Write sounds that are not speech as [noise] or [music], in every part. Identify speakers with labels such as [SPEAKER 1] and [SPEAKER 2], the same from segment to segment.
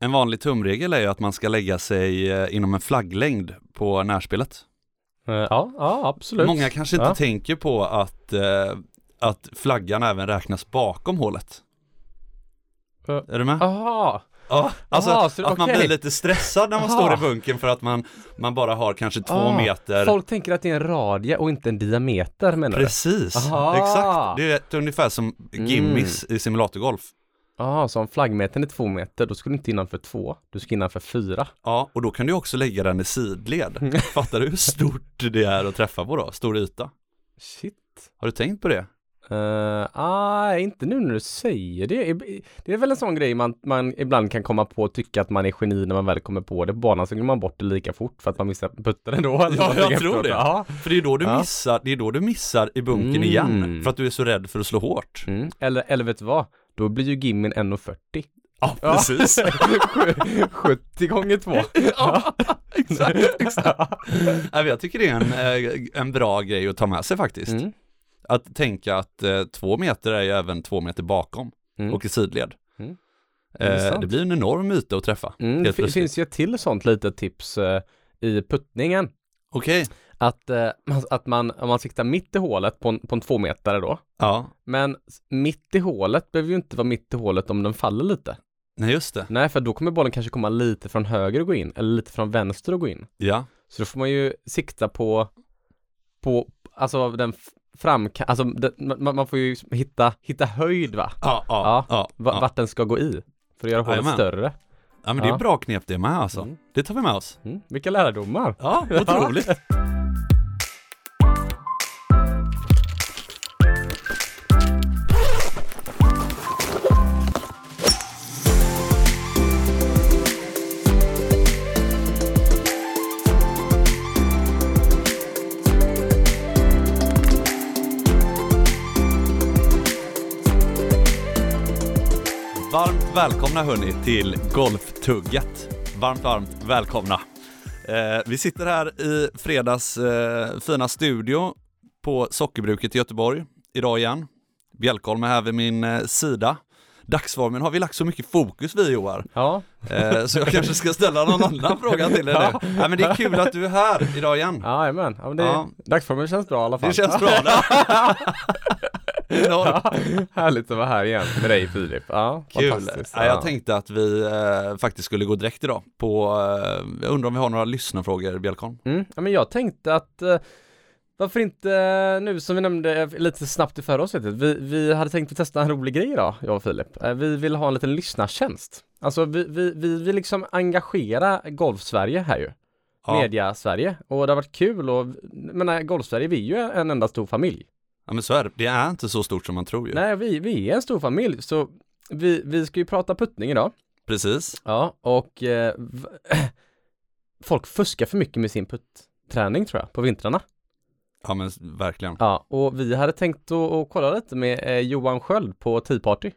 [SPEAKER 1] En vanlig tumregel är ju att man ska lägga sig eh, inom en flagglängd på närspelet.
[SPEAKER 2] Eh, Ja, ja absolut.
[SPEAKER 1] Många kanske inte
[SPEAKER 2] Ja.
[SPEAKER 1] tänker på att, eh, att flaggan även räknas bakom hålet.
[SPEAKER 2] Eh,
[SPEAKER 1] Är du med?
[SPEAKER 2] Aha,
[SPEAKER 1] Ja, alltså
[SPEAKER 2] Aha, Ah, så-
[SPEAKER 1] att man
[SPEAKER 2] okej.
[SPEAKER 1] blir lite stressad när man
[SPEAKER 2] Aha.
[SPEAKER 1] står i bunkern för att man, man bara har kanske två
[SPEAKER 2] Ah,
[SPEAKER 1] meter.
[SPEAKER 2] Folk tänker att det är en radie och inte en diameter menar du?
[SPEAKER 1] Precis,
[SPEAKER 2] Aha. Mm.
[SPEAKER 1] exakt. Det är ett, ungefär som gimmis i simulatorgolf.
[SPEAKER 2] Ja, Ah, så om flaggmetern är två meter, då ska du inte innanför två, du ska innanför fyra.
[SPEAKER 1] Ja, och då kan du också lägga den i
[SPEAKER 2] [laughs]
[SPEAKER 1] sidled. Fattar du hur stort det är att träffa på då? Stor yta.
[SPEAKER 2] Shit.
[SPEAKER 1] Har du tänkt på det?
[SPEAKER 2] Eh, ah, inte nu när du säger det. Ib- Det är väl en sån grej man, man ibland kan komma på och tycka att man är geni när man väl kommer på det. På banan så glömmer man bort det lika fort för att man missar putten ändå. Alltså, eller
[SPEAKER 1] jag
[SPEAKER 2] någonting
[SPEAKER 1] tror
[SPEAKER 2] efteråt.
[SPEAKER 1] det.
[SPEAKER 2] Ja.
[SPEAKER 1] För det är då du
[SPEAKER 2] Ja.
[SPEAKER 1] missar, det är då du missar i bunkern
[SPEAKER 2] Mm.
[SPEAKER 1] igen. För att du är så rädd för att slå hårt.
[SPEAKER 2] Mm. Eller, eller vet du vad? Då blir ju gimmin 1,40.
[SPEAKER 1] Ja,
[SPEAKER 2] Ja. [laughs]
[SPEAKER 1] precis.
[SPEAKER 2] Sju- 70 gånger 2.
[SPEAKER 1] [laughs] Ja, exakt, exakt. Nej, men jag tycker det är en, eh, en bra grej att ta med sig faktiskt.
[SPEAKER 2] Mm.
[SPEAKER 1] Att tänka att eh, två meter är ju även två meter bakom
[SPEAKER 2] Mm.
[SPEAKER 1] och i sidled.
[SPEAKER 2] Mm.
[SPEAKER 1] Eh,
[SPEAKER 2] Det är sant.
[SPEAKER 1] det blir en enorm yta att träffa.
[SPEAKER 2] Mm, det
[SPEAKER 1] helt
[SPEAKER 2] fi-
[SPEAKER 1] plötsligt.
[SPEAKER 2] finns ju ett till sånt litet tips eh, i puttningen.
[SPEAKER 1] Okej,
[SPEAKER 2] Att, eh, man- att man, om man siktar mitt i hålet på en, på en tvåmetare då.
[SPEAKER 1] ja,
[SPEAKER 2] Men s- mitt i hålet behöver ju inte vara mitt i hålet om den faller lite.
[SPEAKER 1] nej just det.
[SPEAKER 2] Nej, för då kommer bollen kanske komma lite från höger och gå in, eller lite från vänster och gå in.
[SPEAKER 1] Ja,
[SPEAKER 2] Så då får man ju sikta på, på alltså den f- framka, alltså den, man, man får ju hitta, hitta höjd va?
[SPEAKER 1] ja, ja,
[SPEAKER 2] Ja.
[SPEAKER 1] ja.
[SPEAKER 2] Va-
[SPEAKER 1] ja.
[SPEAKER 2] Vart den ska gå i. För att göra hålet
[SPEAKER 1] Jajamän.
[SPEAKER 2] större.
[SPEAKER 1] ja men det är
[SPEAKER 2] Ja.
[SPEAKER 1] bra knep det med alltså.
[SPEAKER 2] Mm.
[SPEAKER 1] Det tar vi med oss.
[SPEAKER 2] Mm. Vilka lärdomar!
[SPEAKER 1] Ja, otroligt. Varmt välkomna hörni till Golftugget. Varmt, varmt välkomna. Eh, vi sitter här i fredags eh, fina studio på Sockerbruket i Göteborg idag igen. Bjälkholm är här vid min eh, sida. Dagsformen har vi lagt så mycket fokus vid Joar,
[SPEAKER 2] Ja,
[SPEAKER 1] eh, så jag kanske ska ställa någon annan fråga till dig
[SPEAKER 2] [laughs] Ja.
[SPEAKER 1] nu. Nej men det är kul att du är här idag igen.
[SPEAKER 2] ja, men, ja, men det,
[SPEAKER 1] Ja.
[SPEAKER 2] dagsformen känns bra i alla fall.
[SPEAKER 1] Det känns bra. där. Enormt.
[SPEAKER 2] [laughs] Ja, härligt att vara här igen med dig Filip. Ja,
[SPEAKER 1] Kul!
[SPEAKER 2] fantastiskt.
[SPEAKER 1] Ja, jag tänkte att vi eh, faktiskt skulle gå direkt idag på, eh, jag undrar om vi har några lyssnarfrågor Bjelkholm?
[SPEAKER 2] Mm. Ja, men jag tänkte att eh, varför inte eh, nu som vi nämnde eh, lite snabbt i förra avsnittet. Vi, vi hade tänkt att testa en rolig grej idag, jag och Filip. Eh, vi vill ha en liten lyssnartjänst. Alltså vi, vi, vi vill liksom engagera Golfsverige här ju.
[SPEAKER 1] Ja.
[SPEAKER 2] Media-Sverige. Och det har varit kul och, jag menar Golfsverige, vi är ju en enda stor familj.
[SPEAKER 1] ja men så är det, det är inte så stort som man tror ju.
[SPEAKER 2] Nej, vi, vi är en stor familj, så vi, vi ska ju prata puttning idag.
[SPEAKER 1] Precis,
[SPEAKER 2] Ja, och eh, v- [clears throat] folk fuskar för mycket med sin putträning tror jag, på vintrarna.
[SPEAKER 1] ja men s- verkligen.
[SPEAKER 2] Ja, och vi hade tänkt att, att kolla lite med eh, Johan Sköld på Tea Party.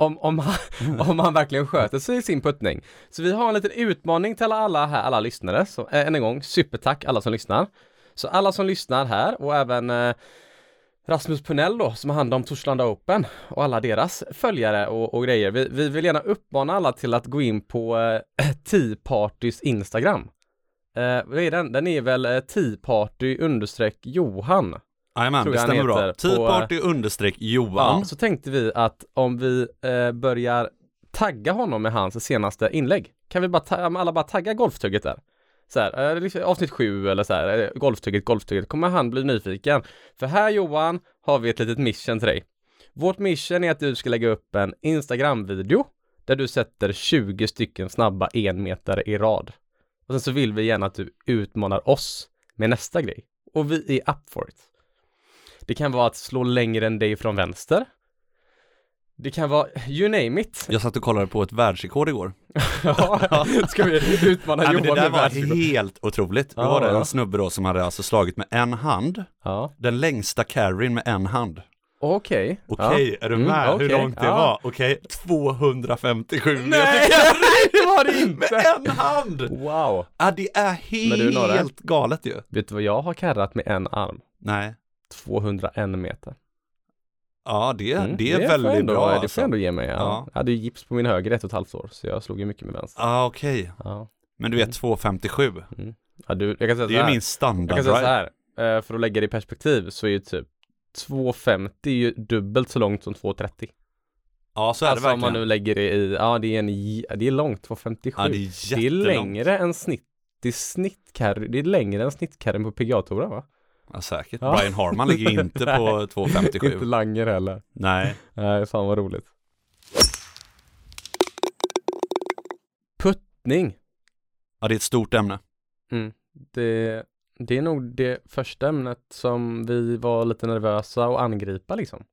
[SPEAKER 2] Om, om, han, om han verkligen sköter sig i sin puttning. Så vi har en liten utmaning till alla, alla här, alla lyssnare. Så eh, än en gång, supertack alla som lyssnar. Så alla som lyssnar här och även eh, Rasmus Punell då, som har hand om Torslanda Open och alla deras följare och, och grejer. Vi, vi vill gärna uppmana alla till att gå in på eh, [laughs] Tea Partys Instagram. Eh, vad är den? Den är väl eh, Tea Party understreck Johan.
[SPEAKER 1] Jajamän,
[SPEAKER 2] tror
[SPEAKER 1] det
[SPEAKER 2] jag han
[SPEAKER 1] stämmer bra.
[SPEAKER 2] heter på-
[SPEAKER 1] Typarty understreck Johan.
[SPEAKER 2] Ja, så tänkte vi att om vi eh, börjar tagga honom med hans senaste inlägg, kan vi bara ta- om alla bara tagga golftugget där? Så här, eh, liksom avsnitt sju eller så här, eh, golftugget, golftugget, kommer han bli nyfiken? För här Johan har vi ett litet mission till dig. Vårt mission är att du ska lägga upp en Instagram-video där du sätter 20 stycken snabba enmetare i rad. Och sen så vill vi gärna att du utmanar oss med nästa grej. Och vi är up for it. Det kan vara att slå längre än dig från vänster. Det kan vara, you
[SPEAKER 1] [laughs]
[SPEAKER 2] name it.
[SPEAKER 1] Jag satt och kollade på ett världsrekord
[SPEAKER 2] [laughs]
[SPEAKER 1] igår.
[SPEAKER 2] Ja, ska vi utmana
[SPEAKER 1] Nej, men
[SPEAKER 2] Johan
[SPEAKER 1] det där
[SPEAKER 2] med
[SPEAKER 1] var
[SPEAKER 2] världsrekord?
[SPEAKER 1] helt otroligt. Då
[SPEAKER 2] Ja,
[SPEAKER 1] var det
[SPEAKER 2] ja.
[SPEAKER 1] en snubbe då som hade alltså slagit med en hand,
[SPEAKER 2] Ja,
[SPEAKER 1] den längsta carryn med en hand.
[SPEAKER 2] okej.
[SPEAKER 1] Okej, är du
[SPEAKER 2] Mm,
[SPEAKER 1] med hur
[SPEAKER 2] okej.
[SPEAKER 1] långt det
[SPEAKER 2] Ja.
[SPEAKER 1] var? Okej, 257 meter [laughs]
[SPEAKER 2] Nej, det var det [laughs]
[SPEAKER 1] med
[SPEAKER 2] inte!
[SPEAKER 1] en hand!
[SPEAKER 2] Wow.
[SPEAKER 1] Ja, det är
[SPEAKER 2] Men du, Norre?
[SPEAKER 1] helt galet ju.
[SPEAKER 2] Vet du vad jag har karrat med en arm?
[SPEAKER 1] Nej.
[SPEAKER 2] 201 meter.
[SPEAKER 1] Ja, det,
[SPEAKER 2] Mm,
[SPEAKER 1] det är
[SPEAKER 2] får jag
[SPEAKER 1] väldigt
[SPEAKER 2] ändå,
[SPEAKER 1] bra.
[SPEAKER 2] Det får
[SPEAKER 1] alltså.
[SPEAKER 2] jag ändå ge mig. Ja.
[SPEAKER 1] Ja.
[SPEAKER 2] Jag hade ju gips på min höger i ett och ett halvt år, så jag slog ju mycket med vänster.
[SPEAKER 1] ah, okej.
[SPEAKER 2] Ja.
[SPEAKER 1] Men
[SPEAKER 2] Mm.
[SPEAKER 1] du är 2,57.
[SPEAKER 2] Ja, du, jag kan
[SPEAKER 1] Det
[SPEAKER 2] säga
[SPEAKER 1] är
[SPEAKER 2] så
[SPEAKER 1] ju
[SPEAKER 2] här.
[SPEAKER 1] min
[SPEAKER 2] Alltså, Jag
[SPEAKER 1] standard.
[SPEAKER 2] kan säga så
[SPEAKER 1] right?
[SPEAKER 2] här, eh, för att lägga det i perspektiv så är ju typ 2,50 är ju dubbelt så långt som 2,30.
[SPEAKER 1] Ja, så är
[SPEAKER 2] Alltså
[SPEAKER 1] det
[SPEAKER 2] om man
[SPEAKER 1] verkligen.
[SPEAKER 2] nu lägger det i, ja det är, en, j- det är långt, 2,57.
[SPEAKER 1] ja, det
[SPEAKER 2] det,
[SPEAKER 1] är
[SPEAKER 2] är
[SPEAKER 1] jättelångt.
[SPEAKER 2] längre än snitt, det är snittcarry, det är längre än snittcarryn på pga touren va?
[SPEAKER 1] Ja, säkert.
[SPEAKER 2] Ja.
[SPEAKER 1] Brian Harman ligger ju inte
[SPEAKER 2] [laughs]
[SPEAKER 1] på
[SPEAKER 2] Inte
[SPEAKER 1] 2,57.
[SPEAKER 2] langer heller.
[SPEAKER 1] Nej.
[SPEAKER 2] Nej, fan vad roligt. Puttning.
[SPEAKER 1] Ja, det är ett stort ämne.
[SPEAKER 2] Mm. Det, det är nog det första ämnet som vi var lite nervösa att
[SPEAKER 1] [laughs]
[SPEAKER 2] angripa liksom.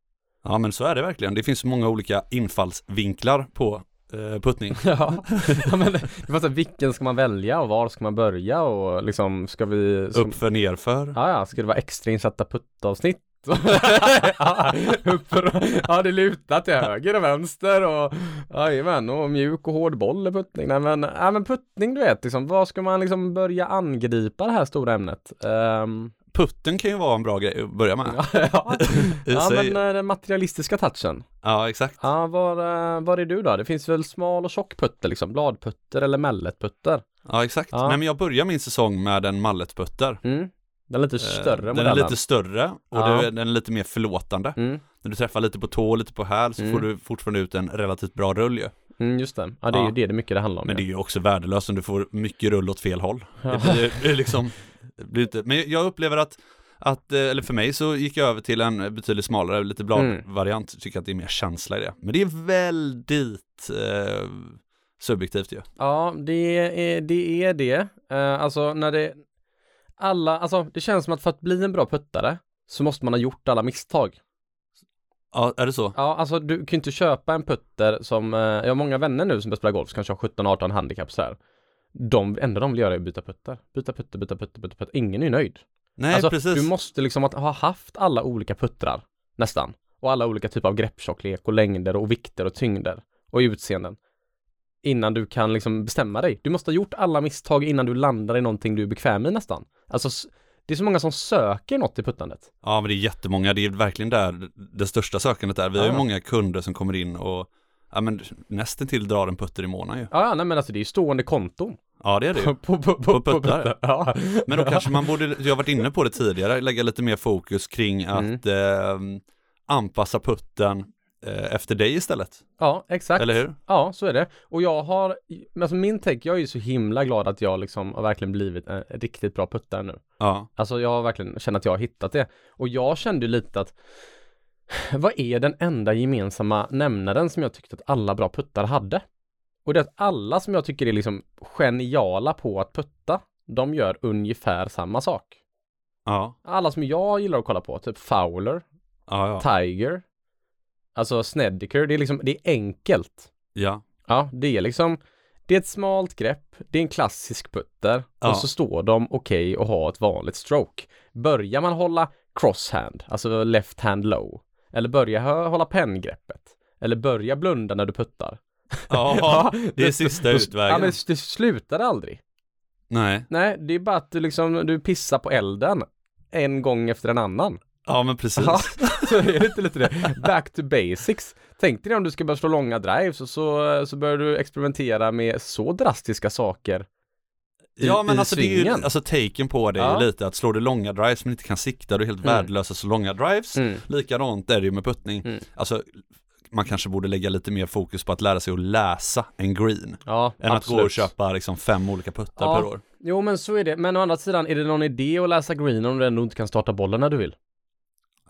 [SPEAKER 1] Ja, men så är det verkligen. Det finns så många olika infallsvinklar på eh, puttning.
[SPEAKER 2] Ja, ja men det det var så här, vilken ska man välja och var ska man börja och liksom ska vi ska,
[SPEAKER 1] Uppför, nerför.
[SPEAKER 2] Ja, ja, ska det vara extra insatta
[SPEAKER 1] [laughs]
[SPEAKER 2] puttavsnitt? [laughs] ja, upp och, ja, det lutar till höger och vänster och jajamän, och mjuk och hård boll är puttning. Nej men, ja, men puttning du vet, liksom, vad ska man liksom börja angripa det här stora ämnet?
[SPEAKER 1] [laughs]
[SPEAKER 2] Ehm,
[SPEAKER 1] Putten kan ju vara en bra grej att börja med.
[SPEAKER 2] ja, ja,
[SPEAKER 1] I sig.
[SPEAKER 2] men eh, den materialistiska touchen.
[SPEAKER 1] Ja, exakt.
[SPEAKER 2] Ja, var, eh, var är du då? Det finns väl smal och tjock putter liksom, bladputter eller melletputter?
[SPEAKER 1] Ja, exakt.
[SPEAKER 2] Ja.
[SPEAKER 1] Nej, men jag börjar min säsong med en malletputter.
[SPEAKER 2] Mm. Den är lite
[SPEAKER 1] Eh,
[SPEAKER 2] större
[SPEAKER 1] Den är
[SPEAKER 2] modellen.
[SPEAKER 1] lite större och
[SPEAKER 2] Ja.
[SPEAKER 1] det- den är lite mer förlåtande.
[SPEAKER 2] Mm.
[SPEAKER 1] När du träffar lite på tå och lite på häl så
[SPEAKER 2] Mm.
[SPEAKER 1] får du fortfarande ut en relativt bra rull ju.
[SPEAKER 2] Mm, just det. Ja, det är
[SPEAKER 1] Ja.
[SPEAKER 2] ju det det mycket det handlar om.
[SPEAKER 1] Men det
[SPEAKER 2] ja.
[SPEAKER 1] är ju också värdelöst om du får mycket rull åt fel håll.
[SPEAKER 2] Ja.
[SPEAKER 1] Det blir, det blir liksom, det blir inte, men jag upplever att, att, eh, eller för mig så gick jag över till en betydligt smalare, lite
[SPEAKER 2] Mm.
[SPEAKER 1] bladvariant, tycker att det är mer känsla i det. Men det är väldigt eh, subjektivt ju.
[SPEAKER 2] Ja, det är det. Är det. Eh, alltså när det... Alla, alltså det känns som att för att bli en bra puttare så måste man ha gjort alla misstag.
[SPEAKER 1] Ja, är det så?
[SPEAKER 2] Ja, alltså du kan ju inte köpa en putter som, eh, jag har många vänner nu som börjar spela golf som kanske har 17-18 handikapp så här. De, enda de vill göra är att byta putter. Byta putter, byta putter, byta putter. Ingen är ju nöjd.
[SPEAKER 1] Nej,
[SPEAKER 2] alltså,
[SPEAKER 1] precis.
[SPEAKER 2] Du måste liksom att ha haft alla olika puttrar, nästan. Och alla olika typer av grepptjocklek och längder och vikter och tyngder och utseenden. Innan du kan liksom bestämma dig. Du måste ha gjort alla misstag innan du landar i någonting du är bekväm i nästan. Alltså, s- det är så många som söker något i puttandet.
[SPEAKER 1] Ja, men det är jättemånga. Det är verkligen där det största sökandet är. Vi har ju
[SPEAKER 2] Ja.
[SPEAKER 1] många kunder som kommer in och ja, men, nästan till drar en putter i månaden ju.
[SPEAKER 2] Ja, ja, nej men alltså det är ju stående konton.
[SPEAKER 1] Ja, det är det ju.
[SPEAKER 2] [laughs] På, på,
[SPEAKER 1] På
[SPEAKER 2] på,
[SPEAKER 1] puttar.
[SPEAKER 2] Ja. [laughs]
[SPEAKER 1] Men då kanske man borde, jag har varit inne på det tidigare, lägga lite mer fokus kring att eh, anpassa putten eh, efter dig istället.
[SPEAKER 2] Ja, exakt.
[SPEAKER 1] Eller hur?
[SPEAKER 2] Ja, så är det. Och jag har, men alltså min take, jag är ju så himla glad att jag liksom har verkligen blivit en riktigt bra puttare nu.
[SPEAKER 1] Ja,
[SPEAKER 2] Alltså jag har verkligen känt att jag har hittat det. Och jag kände ju lite att vad är den enda gemensamma nämnaren som jag tyckte att alla bra puttar hade? Och det är att alla som jag tycker är liksom geniala på att putta, de gör ungefär samma sak.
[SPEAKER 1] ja,
[SPEAKER 2] Alla som jag gillar att kolla på, typ Fowler,
[SPEAKER 1] ja, ja.
[SPEAKER 2] Tiger, alltså Snedeker, det är liksom, det är enkelt.
[SPEAKER 1] [laughs] ja.
[SPEAKER 2] Ja, det är liksom, det är ett smalt grepp, det är en klassisk putter
[SPEAKER 1] Ja.
[SPEAKER 2] och så står de okej och har ett vanligt stroke. Börjar man hålla crosshand, alltså left hand low, eller börja hö- hålla penngreppet, eller börja blunda när du puttar. [laughs]
[SPEAKER 1] ja. Det är
[SPEAKER 2] då-
[SPEAKER 1] sista
[SPEAKER 2] då- Ja,
[SPEAKER 1] utvägen.
[SPEAKER 2] men det slutar aldrig.
[SPEAKER 1] Nej,
[SPEAKER 2] Nej, det är bara att du liksom, du pissar på elden en gång efter en annan.
[SPEAKER 1] ja men precis.
[SPEAKER 2] Ja, [laughs] så är det inte lite det. Back to basics. Tänk dig om du ska börja slå långa drives och så, så börjar du experimentera med så drastiska saker. i-
[SPEAKER 1] Ja men
[SPEAKER 2] i
[SPEAKER 1] alltså det är ju,
[SPEAKER 2] svingen.
[SPEAKER 1] alltså taken på det är ju
[SPEAKER 2] Ja.
[SPEAKER 1] lite att slår du långa drives men inte kan sikta, du är helt
[SPEAKER 2] Mm.
[SPEAKER 1] värdelös att slå långa drives.
[SPEAKER 2] Mm.
[SPEAKER 1] Likadant är det ju med puttning.
[SPEAKER 2] Mm.
[SPEAKER 1] Alltså, man kanske borde lägga lite mer fokus på att lära sig att läsa en green.
[SPEAKER 2] Ja,
[SPEAKER 1] Än att gå och köpa liksom fem olika puttar
[SPEAKER 2] Ja.
[SPEAKER 1] per år.
[SPEAKER 2] Jo, men så är det. Men å andra sidan, är det någon idé att läsa green om du ändå inte kan starta bollen när du vill?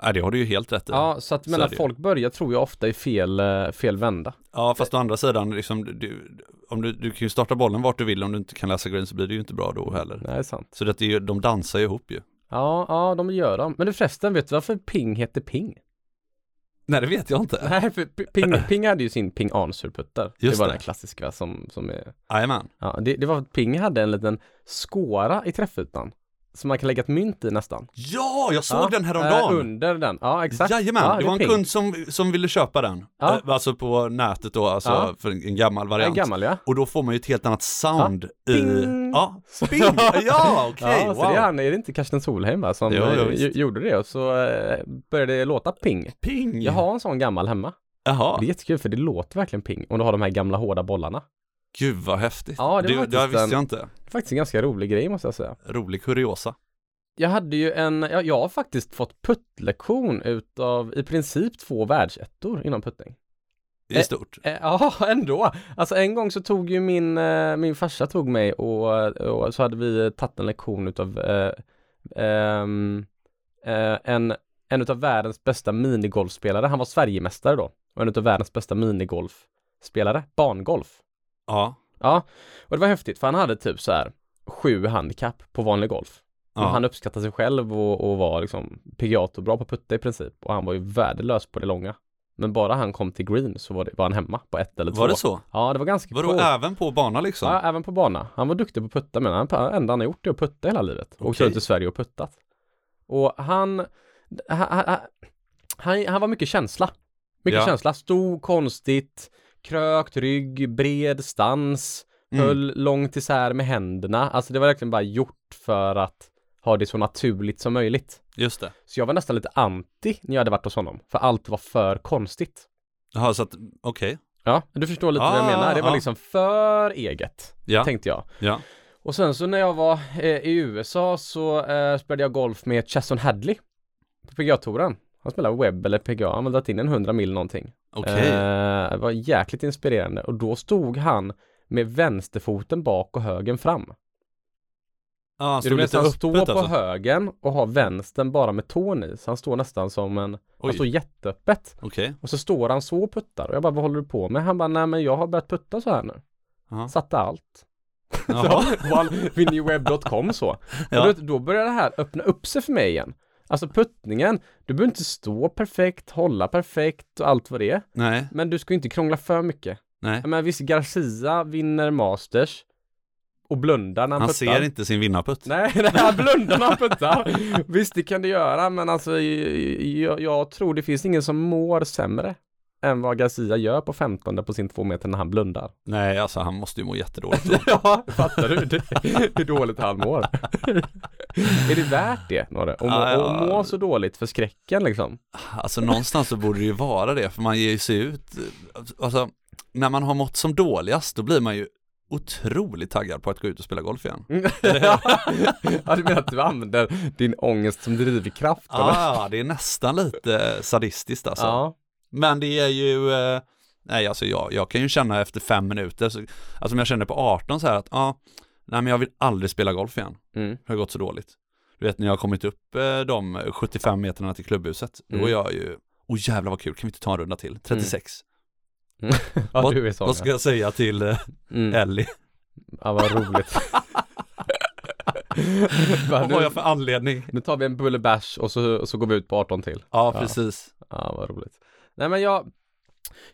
[SPEAKER 1] Nej, det har du ju helt rätt i.
[SPEAKER 2] Ja, så att
[SPEAKER 1] Så
[SPEAKER 2] men
[SPEAKER 1] är
[SPEAKER 2] att
[SPEAKER 1] det ju.
[SPEAKER 2] folk börjar tror jag ofta i fel, eh, fel vända.
[SPEAKER 1] Ja, fast å andra sidan, liksom, du, om du, du kan ju starta bollen vart du vill, om du inte kan läsa green så blir det ju inte bra då heller.
[SPEAKER 2] Nej, det är sant.
[SPEAKER 1] Så det är ju, de dansar ju ihop ju.
[SPEAKER 2] Ja, ja, de gör dem. Men du förresten, vet du varför ping heter ping?
[SPEAKER 1] Nej, det vet jag inte.
[SPEAKER 2] Nej, för P- ping, ping hade ju sin ping answer-putter. Det
[SPEAKER 1] Just
[SPEAKER 2] var
[SPEAKER 1] det.
[SPEAKER 2] den klassiska som, som är
[SPEAKER 1] Jajamän.
[SPEAKER 2] Ja, det, det var för att Ping hade en liten skåra i träffytan. som man kan lägga ett mynt i nästan.
[SPEAKER 1] Ja, jag såg
[SPEAKER 2] ja.
[SPEAKER 1] den häromdagen.
[SPEAKER 2] Eh, under den, ja exakt.
[SPEAKER 1] Jajamän,
[SPEAKER 2] ja,
[SPEAKER 1] det var en
[SPEAKER 2] pink.
[SPEAKER 1] kund som, som ville köpa den.
[SPEAKER 2] Ja.
[SPEAKER 1] Eh, Alltså på nätet då, alltså
[SPEAKER 2] Ja.
[SPEAKER 1] för en gammal
[SPEAKER 2] Ja, En
[SPEAKER 1] variant. [laughs]
[SPEAKER 2] gammal ja.
[SPEAKER 1] Och då får man ju ett helt annat sound i...
[SPEAKER 2] Ding!
[SPEAKER 1] Ja, bing! Ja, okej,
[SPEAKER 2] [laughs] ja,
[SPEAKER 1] wow!
[SPEAKER 2] så det är, han, är det inte Karsten Solheim va, som
[SPEAKER 1] Jo, jo,
[SPEAKER 2] eh,
[SPEAKER 1] visst.
[SPEAKER 2] ju- gjorde det och så eh, började det låta ping.
[SPEAKER 1] Ping!
[SPEAKER 2] Jag har en sån gammal hemma.
[SPEAKER 1] Jaha,
[SPEAKER 2] Det är jättekul för det låter verkligen ping om du har de här gamla hårda bollarna.
[SPEAKER 1] gud vad häftigt.
[SPEAKER 2] Ja, det
[SPEAKER 1] det,
[SPEAKER 2] var
[SPEAKER 1] det här visste
[SPEAKER 2] faktiskt en-
[SPEAKER 1] jag inte.
[SPEAKER 2] Det är faktiskt en ganska rolig grej måste jag säga.
[SPEAKER 1] Rolig kuriosa.
[SPEAKER 2] Jag hade ju en, ja, jag har faktiskt fått puttlektion utav i princip två världsettor inom puttning.
[SPEAKER 1] I
[SPEAKER 2] Eh,
[SPEAKER 1] stort.
[SPEAKER 2] Eh, [laughs] Ja, ändå. Alltså en gång så tog ju min, eh, min farsa tog mig och, och så hade vi tagit en lektion utav eh, ehm, eh, en, en utav världens bästa minigolfspelare. Han var Sverigemästare då och en utav världens bästa minigolfspelare, bangolf.
[SPEAKER 1] Ja.
[SPEAKER 2] Ja, och det var häftigt för han hade typ så här sju handikapp på vanlig golf.
[SPEAKER 1] ja.
[SPEAKER 2] Och han uppskattade sig själv och, och var liksom pigat och bra på putta i princip. Och han var ju värdelös på det långa. Men bara han kom till green så var, det, var han hemma på ett eller två.
[SPEAKER 1] Var det så?
[SPEAKER 2] Ja, det var ganska
[SPEAKER 1] Vadå,
[SPEAKER 2] coolt.
[SPEAKER 1] även på bana liksom?
[SPEAKER 2] Ja, även på bana. Han var duktig på att putta men han, det enda han har gjort är att putta hela livet. Och Åkt
[SPEAKER 1] Okej.
[SPEAKER 2] runt i Sverige och puttat. Och han, han, han, han, han var mycket känsla. Mycket
[SPEAKER 1] Ja.
[SPEAKER 2] känsla. Stor, konstigt, krökt rygg, bred stans,
[SPEAKER 1] Mm.
[SPEAKER 2] höll långt isär med händerna. Alltså det var verkligen bara gjort för att ha det så naturligt som möjligt.
[SPEAKER 1] Just det.
[SPEAKER 2] Så jag var nästan lite anti när jag hade varit hos honom, för allt var för konstigt.
[SPEAKER 1] Jaha, så att, okej.
[SPEAKER 2] Ja, du förstår lite vad jag
[SPEAKER 1] Ah,
[SPEAKER 2] menar. Det var
[SPEAKER 1] ah.
[SPEAKER 2] liksom för eget,
[SPEAKER 1] Ja,
[SPEAKER 2] tänkte jag.
[SPEAKER 1] ja.
[SPEAKER 2] Och sen så när jag var eh, i USA så eh, spelade jag golf med Chesson Hadley på PGA-touren. Han spelade webb eller PGA, han hade dragit in en 100 mil någonting.
[SPEAKER 1] Okej.
[SPEAKER 2] Eh, det var jäkligt inspirerande och då stod han med vänsterfoten bak och högen fram.
[SPEAKER 1] ja,
[SPEAKER 2] Så
[SPEAKER 1] så
[SPEAKER 2] du
[SPEAKER 1] det
[SPEAKER 2] vet,
[SPEAKER 1] lite
[SPEAKER 2] han
[SPEAKER 1] öppet
[SPEAKER 2] står på
[SPEAKER 1] alltså?
[SPEAKER 2] högen och har vänstern bara med tån i, så han står nästan som en, han
[SPEAKER 1] Oj.
[SPEAKER 2] står jätteöppet.
[SPEAKER 1] Okej.
[SPEAKER 2] [laughs] Och så står han så och puttar och jag bara, vad håller du på med? Han bara, nej men jag har börjat putta så här nu.
[SPEAKER 1] Ja.
[SPEAKER 2] Satte allt. [laughs]
[SPEAKER 1] Jaha.
[SPEAKER 2] Winnieweb.com så.
[SPEAKER 1] Ja.
[SPEAKER 2] Och då, då börjar det här öppna upp sig för mig igen. Alltså puttningen, du behöver inte stå perfekt, hålla perfekt och allt vad det är.
[SPEAKER 1] Nej,
[SPEAKER 2] Men du ska ju inte krångla för mycket.
[SPEAKER 1] nej.
[SPEAKER 2] Jag menar visst, Garcia vinner Masters och blundar när han,
[SPEAKER 1] Han
[SPEAKER 2] puttar.
[SPEAKER 1] ser inte sin vinnarputt.
[SPEAKER 2] Nej, [laughs] nej, han blundar när han puttar. visst, det kan du göra, men alltså jag, jag tror det finns ingen som mår sämre än vad Garcia gör på 15 på sin två meter när han blundar.
[SPEAKER 1] Nej, alltså han måste ju må
[SPEAKER 2] [laughs]
[SPEAKER 1] jättedåligt.
[SPEAKER 2] Ja, fattar du det, hur dåligt han mår?
[SPEAKER 1] [laughs]
[SPEAKER 2] är det värt det, Norre? Att må,
[SPEAKER 1] Ja, ja.
[SPEAKER 2] att må så dåligt för skräcken liksom?
[SPEAKER 1] Alltså någonstans så borde det ju vara det, för man ger ju sig ut, alltså när man har mått som dåligast, då blir man ju otroligt taggad på att gå ut och spela golf igen.
[SPEAKER 2] [laughs] ja, du menar att du använder din ångest som drivkraft? eller?
[SPEAKER 1] ah, det är nästan lite sadistiskt alltså.
[SPEAKER 2] ja.
[SPEAKER 1] Men det är ju, eh, nej alltså jag, jag kan ju känna efter fem minuter, så, alltså om jag känner på 18 så här att, ja, ah, nej men jag vill aldrig spela golf igen,
[SPEAKER 2] Mm.
[SPEAKER 1] det har gått så dåligt. Du vet när jag har kommit upp eh, de 75 metrarna till klubbhuset, då
[SPEAKER 2] Mm.
[SPEAKER 1] är jag ju, åh oh, jävlar vad kul, kan vi inte ta en runda till? 36.
[SPEAKER 2] ja, du är sån.
[SPEAKER 1] Vad ska jag säga till eh,
[SPEAKER 2] ja. Mm.
[SPEAKER 1] Ellie?
[SPEAKER 2] ja,
[SPEAKER 1] [laughs]
[SPEAKER 2] vad roligt. [laughs] Va,
[SPEAKER 1] Vad har
[SPEAKER 2] nu,
[SPEAKER 1] jag för anledning?
[SPEAKER 2] nu tar vi en bulle bash och så, och så går vi ut på 18 till.
[SPEAKER 1] Ja,
[SPEAKER 2] Ja.
[SPEAKER 1] precis.
[SPEAKER 2] Ja, vad roligt. Nej, men jag,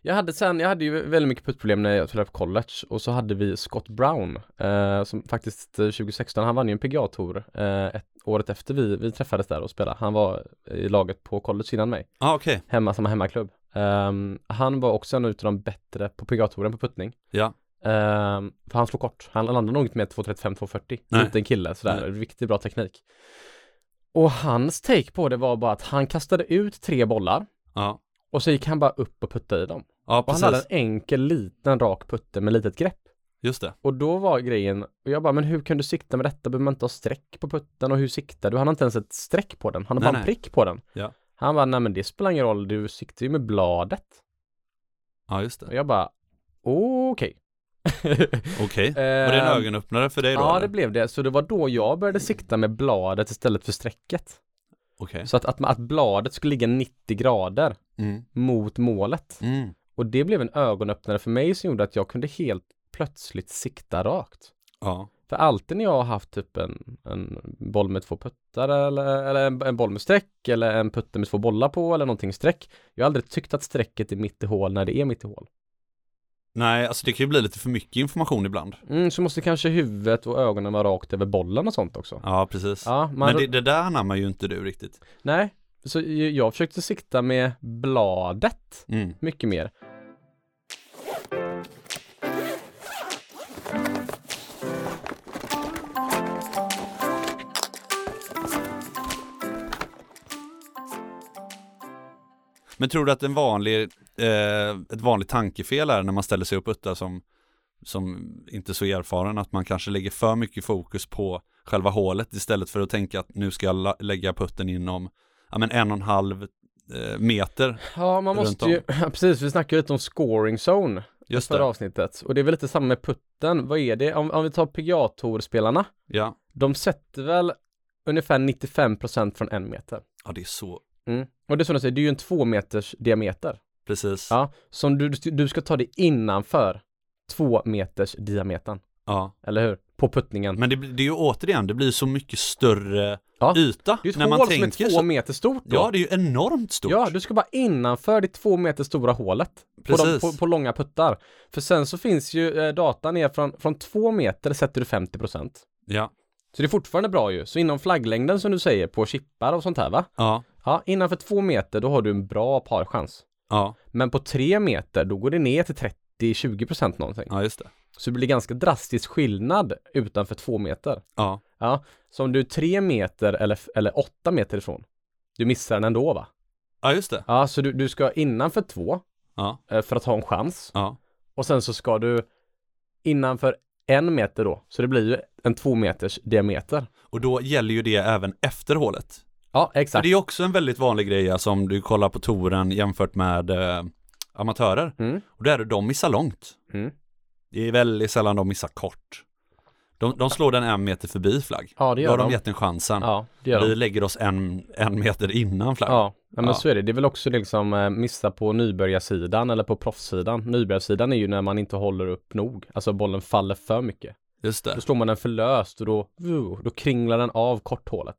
[SPEAKER 2] jag hade sen, jag hade ju väldigt mycket puttproblem när jag spelade på college och så hade vi Scott Brown eh, som faktiskt eh, 2016, han vann ju en PGA-tour eh, ett, året efter vi, vi träffades där och spelade. Han var i laget på college innan mig,
[SPEAKER 1] Ja, okej.
[SPEAKER 2] hemma, samma hemmaklubb. Ehm, han var också en utav de bättre på PGA-touren på puttning.
[SPEAKER 1] Ja.
[SPEAKER 2] Ehm, för han slår kort. Han landade nog inte med 2.35-2.40.
[SPEAKER 1] Nej.
[SPEAKER 2] Liten kille sådär.
[SPEAKER 1] Nej.
[SPEAKER 2] Riktigt bra teknik. Och hans take på det var bara att han kastade ut tre bollar
[SPEAKER 1] Ja,
[SPEAKER 2] och så gick han bara upp och puttade i dem.
[SPEAKER 1] ja
[SPEAKER 2] Och han
[SPEAKER 1] precis.
[SPEAKER 2] hade en enkel liten rak putte med litet grepp.
[SPEAKER 1] Just det.
[SPEAKER 2] Och då var grejen, och jag bara, men hur kan du sikta med detta? Behöver man inte ha streck på putten? Och hur siktar du? Han har inte ens ett streck på den. Han har
[SPEAKER 1] Nej,
[SPEAKER 2] bara en
[SPEAKER 1] nej.
[SPEAKER 2] prick på den.
[SPEAKER 1] Ja.
[SPEAKER 2] Han bara, nej men det spelar ingen roll, du siktar ju med bladet.
[SPEAKER 1] Ja, just
[SPEAKER 2] Och
[SPEAKER 1] det.
[SPEAKER 2] jag bara,
[SPEAKER 1] [laughs]
[SPEAKER 2] okej.
[SPEAKER 1] Okej. Var det en
[SPEAKER 2] Ehm,
[SPEAKER 1] ögonöppnare för dig då?
[SPEAKER 2] Ja,
[SPEAKER 1] eller?
[SPEAKER 2] det blev det. Så det var då jag började sikta med bladet istället för strecket.
[SPEAKER 1] Okej.
[SPEAKER 2] Så att, att, att bladet skulle ligga 90 grader
[SPEAKER 1] Mm.
[SPEAKER 2] mot målet.
[SPEAKER 1] Mm.
[SPEAKER 2] Och det blev en ögonöppnare för mig som gjorde att jag kunde helt plötsligt sikta rakt.
[SPEAKER 1] Ja.
[SPEAKER 2] För alltid när jag har haft typ en, en boll med två puttar eller, eller en, en boll med streck eller en putte med två bollar på eller någonting streck. Jag har aldrig tyckt att strecket är mitt i hål när det är mitt i hål.
[SPEAKER 1] Nej, alltså det kan ju bli lite för mycket information ibland.
[SPEAKER 2] Mm, så måste kanske huvudet och ögonen vara rakt över bollen och sånt också.
[SPEAKER 1] Ja, precis.
[SPEAKER 2] Ja, man,
[SPEAKER 1] Alltså, Men det, det där anammar ju inte du riktigt.
[SPEAKER 2] nej. Så ju- jag försökte sikta med bladet
[SPEAKER 1] Mm.
[SPEAKER 2] mycket mer.
[SPEAKER 1] Men tror du att en vanlig, eh, ett vanligt tankefel är när man ställer sig upp utta som, som inte är så erfaren, att man kanske lägger för mycket fokus på själva hålet istället för att tänka att nu ska jag la- lägga putten inom ja, men en och en halv eh, meter.
[SPEAKER 2] Ja, man
[SPEAKER 1] Runt
[SPEAKER 2] måste ju, [laughs] precis, vi snackade ju lite om scoring zone
[SPEAKER 1] Just
[SPEAKER 2] förra
[SPEAKER 1] det.
[SPEAKER 2] avsnittet. Och det är väl lite samma med putten. Vad är det? Om, om vi tar pga spelarna
[SPEAKER 1] Ja.
[SPEAKER 2] de sätter väl ungefär 95% från en meter.
[SPEAKER 1] ja, det är så.
[SPEAKER 2] Mm. Och det är som du säger, det är ju en två meters diameter.
[SPEAKER 1] Precis. Ja.
[SPEAKER 2] Ja, som du, du ska ta det innanför två meters diametern, eller hur? På puttningen.
[SPEAKER 1] Men det, blir- det är ju återigen, det blir så mycket större
[SPEAKER 2] Ja.
[SPEAKER 1] yta
[SPEAKER 2] det är ju ett
[SPEAKER 1] när man
[SPEAKER 2] hål som är
[SPEAKER 1] tänker
[SPEAKER 2] två
[SPEAKER 1] så.
[SPEAKER 2] meter stort då.
[SPEAKER 1] Ja, det är ju enormt stort.
[SPEAKER 2] Ja, du ska bara innanför det två meter stora hålet på, de,
[SPEAKER 1] Precis.
[SPEAKER 2] på, på långa puttar. För sen så finns ju eh, datan är från, från två meter sätter du 50 procent.
[SPEAKER 1] Ja.
[SPEAKER 2] Så det är fortfarande bra ju. Så inom flagglängden som du säger på chippar och sånt här va?
[SPEAKER 1] Ja.
[SPEAKER 2] Ja, innanför två meter då har du en bra parchans.
[SPEAKER 1] Ja.
[SPEAKER 2] Men på tre meter då går det ner till 30-20 procent någonting.
[SPEAKER 1] ja, just det.
[SPEAKER 2] Så det blir ganska drastisk skillnad utanför två meter.
[SPEAKER 1] Ja.
[SPEAKER 2] Ja, så om du är tre meter eller, eller åtta meter ifrån, du missar den ändå va?
[SPEAKER 1] ja, just det.
[SPEAKER 2] Ja, så du, du ska innanför två
[SPEAKER 1] Ja.
[SPEAKER 2] eh, för att ha en chans.
[SPEAKER 1] Ja.
[SPEAKER 2] Och sen så ska du innanför en meter då, så det blir ju en två meters diameter.
[SPEAKER 1] Och då gäller ju det även efter hålet.
[SPEAKER 2] Ja,
[SPEAKER 1] För
[SPEAKER 2] exakt.
[SPEAKER 1] det är också en väldigt vanlig grej, alltså om du kollar på touren jämfört med eh, amatörer.
[SPEAKER 2] Mm.
[SPEAKER 1] Och där är det de missar långt.
[SPEAKER 2] Mm.
[SPEAKER 1] Det är väldigt sällan de missar kort. De, de slår den en meter förbi flagg.
[SPEAKER 2] Ja, det
[SPEAKER 1] Då har
[SPEAKER 2] gör
[SPEAKER 1] de
[SPEAKER 2] de.
[SPEAKER 1] gett en chansen.
[SPEAKER 2] Ja, det gör
[SPEAKER 1] Vi
[SPEAKER 2] de.
[SPEAKER 1] lägger oss en, en meter innan flagg.
[SPEAKER 2] Ja, ja men
[SPEAKER 1] Ja.
[SPEAKER 2] så är det. Det är väl också liksom eh, missa på nybörjarsidan eller på proffssidan. Nybörjarsidan är ju när man inte håller upp nog, alltså bollen faller för mycket.
[SPEAKER 1] Just det.
[SPEAKER 2] Då slår man den för löst och då, uh, då kringlar den av korthålet.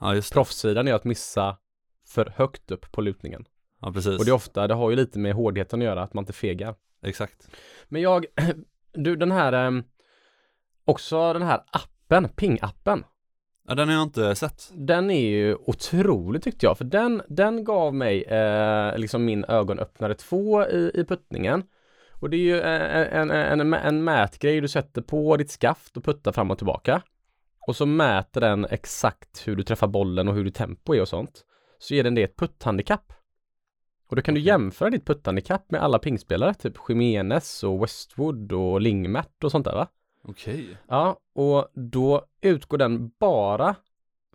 [SPEAKER 1] Ja, just det.
[SPEAKER 2] Proffssidan är att missa för högt upp på lutningen.
[SPEAKER 1] Ja, precis.
[SPEAKER 2] Och det är ofta, det har ju lite med hårdheten att göra, att man inte fegar.
[SPEAKER 1] Exakt.
[SPEAKER 2] Men jag, [clears throat] du den här, ehm, också den här appen, ping-appen.
[SPEAKER 1] Ja, den har jag inte sett.
[SPEAKER 2] Den är ju otrolig tyckte jag, för den, den gav mig eh, liksom min ögonöppnare två i, i puttningen. Och det är ju eh, en, en, en, en mätgrej du sätter på ditt skaft och puttar fram och tillbaka. Och så mäter den exakt hur du träffar bollen och hur ditt tempo är och sånt. Så ger den det ett putthandikapp. Och då kan du
[SPEAKER 1] Okej.
[SPEAKER 2] jämföra ditt putthandikapp med alla pingspelare, typ Jimenez och Westwood och Lingmert och sånt där va?
[SPEAKER 1] Okej.
[SPEAKER 2] Ja, och då utgår den bara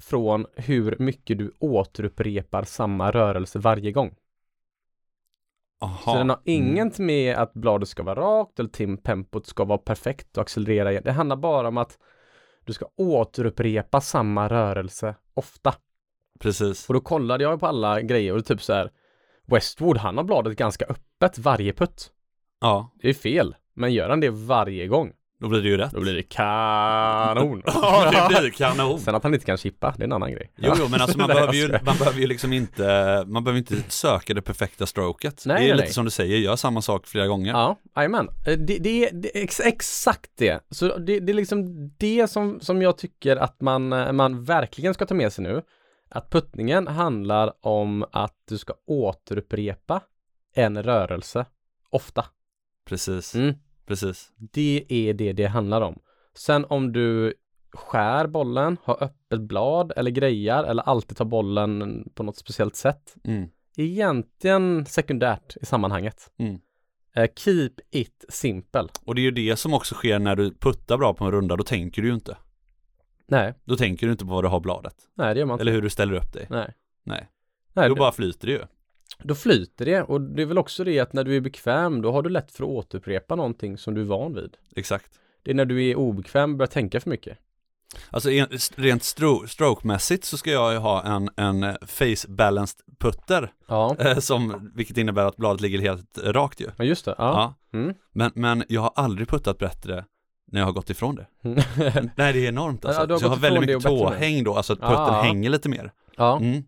[SPEAKER 2] från hur mycket du återupprepar samma rörelse varje gång.
[SPEAKER 1] Aha.
[SPEAKER 2] Så den har
[SPEAKER 1] Mm.
[SPEAKER 2] inget med att bladet ska vara rakt eller timpempot ska vara perfekt och accelerera igen. Det handlar bara om att du ska återupprepa samma rörelse ofta.
[SPEAKER 1] Precis.
[SPEAKER 2] Och då kollade jag på alla grejer och typ så här Westwood, han har bladet ganska öppet varje putt.
[SPEAKER 1] Ja,
[SPEAKER 2] Det är fel, men gör han det varje gång,
[SPEAKER 1] då blir det ju rätt.
[SPEAKER 2] då blir det kanon.
[SPEAKER 1] [laughs] Ja, det blir kanon.
[SPEAKER 2] Sen att han inte kan chippa, det är en annan grej.
[SPEAKER 1] Oh. Jo, jo, men alltså man
[SPEAKER 2] Nej,
[SPEAKER 1] behöver ju,
[SPEAKER 2] jag skojar.
[SPEAKER 1] man behöver ju liksom inte, man behöver inte söka det perfekta stroket.
[SPEAKER 2] Nej,
[SPEAKER 1] det är
[SPEAKER 2] nej,
[SPEAKER 1] lite
[SPEAKER 2] nej.
[SPEAKER 1] som du säger, gör samma sak flera gånger.
[SPEAKER 2] Ja, jajamän. Eh, Det, det är det är ex, exakt det. Så det, det är liksom det som, som jag tycker att man, eh, man verkligen ska ta med sig nu. Att puttningen handlar om att du ska återupprepa en rörelse ofta.
[SPEAKER 1] Precis,
[SPEAKER 2] Mm.
[SPEAKER 1] precis.
[SPEAKER 2] Det är det det handlar om. Sen om du skär bollen, har öppet blad eller grejar eller alltid tar bollen på något speciellt sätt
[SPEAKER 1] Mm.
[SPEAKER 2] egentligen sekundärt i sammanhanget.
[SPEAKER 1] Mm.
[SPEAKER 2] Eh, keep it simple.
[SPEAKER 1] Och det är ju det som också sker när du puttar bra på en runda, då tänker du ju inte.
[SPEAKER 2] Nej,
[SPEAKER 1] Då tänker du inte på vad du har bladet.
[SPEAKER 2] nej det gör man inte.
[SPEAKER 1] Eller hur du ställer upp dig.
[SPEAKER 2] Nej.
[SPEAKER 1] Nej.
[SPEAKER 2] nej
[SPEAKER 1] Då
[SPEAKER 2] då,
[SPEAKER 1] bara flyter det ju.
[SPEAKER 2] då flyter det och det är väl också det att när du är bekväm då har du lätt för att återupprepa någonting som du är van vid.
[SPEAKER 1] Exakt.
[SPEAKER 2] Det är när du är obekväm och börjar tänka för mycket.
[SPEAKER 1] Alltså en- rent stro- strokemässigt så ska jag ju ha en, en eh, face-balanced putter, [laughs]
[SPEAKER 2] Ja,
[SPEAKER 1] eh, som, vilket innebär att bladet ligger helt rakt ju.
[SPEAKER 2] ja just det. Ja.
[SPEAKER 1] Ja.
[SPEAKER 2] Mm.
[SPEAKER 1] Men, men jag har aldrig puttat bättre när jag har gått ifrån det. Nej det är enormt alltså.
[SPEAKER 2] Ja, du har
[SPEAKER 1] så jag har
[SPEAKER 2] gått
[SPEAKER 1] väldigt
[SPEAKER 2] ifrån
[SPEAKER 1] mycket
[SPEAKER 2] det och bättre
[SPEAKER 1] tåhäng då, alltså att putten
[SPEAKER 2] Ja.
[SPEAKER 1] hänger lite mer.
[SPEAKER 2] [laughs] ja.
[SPEAKER 1] Mm.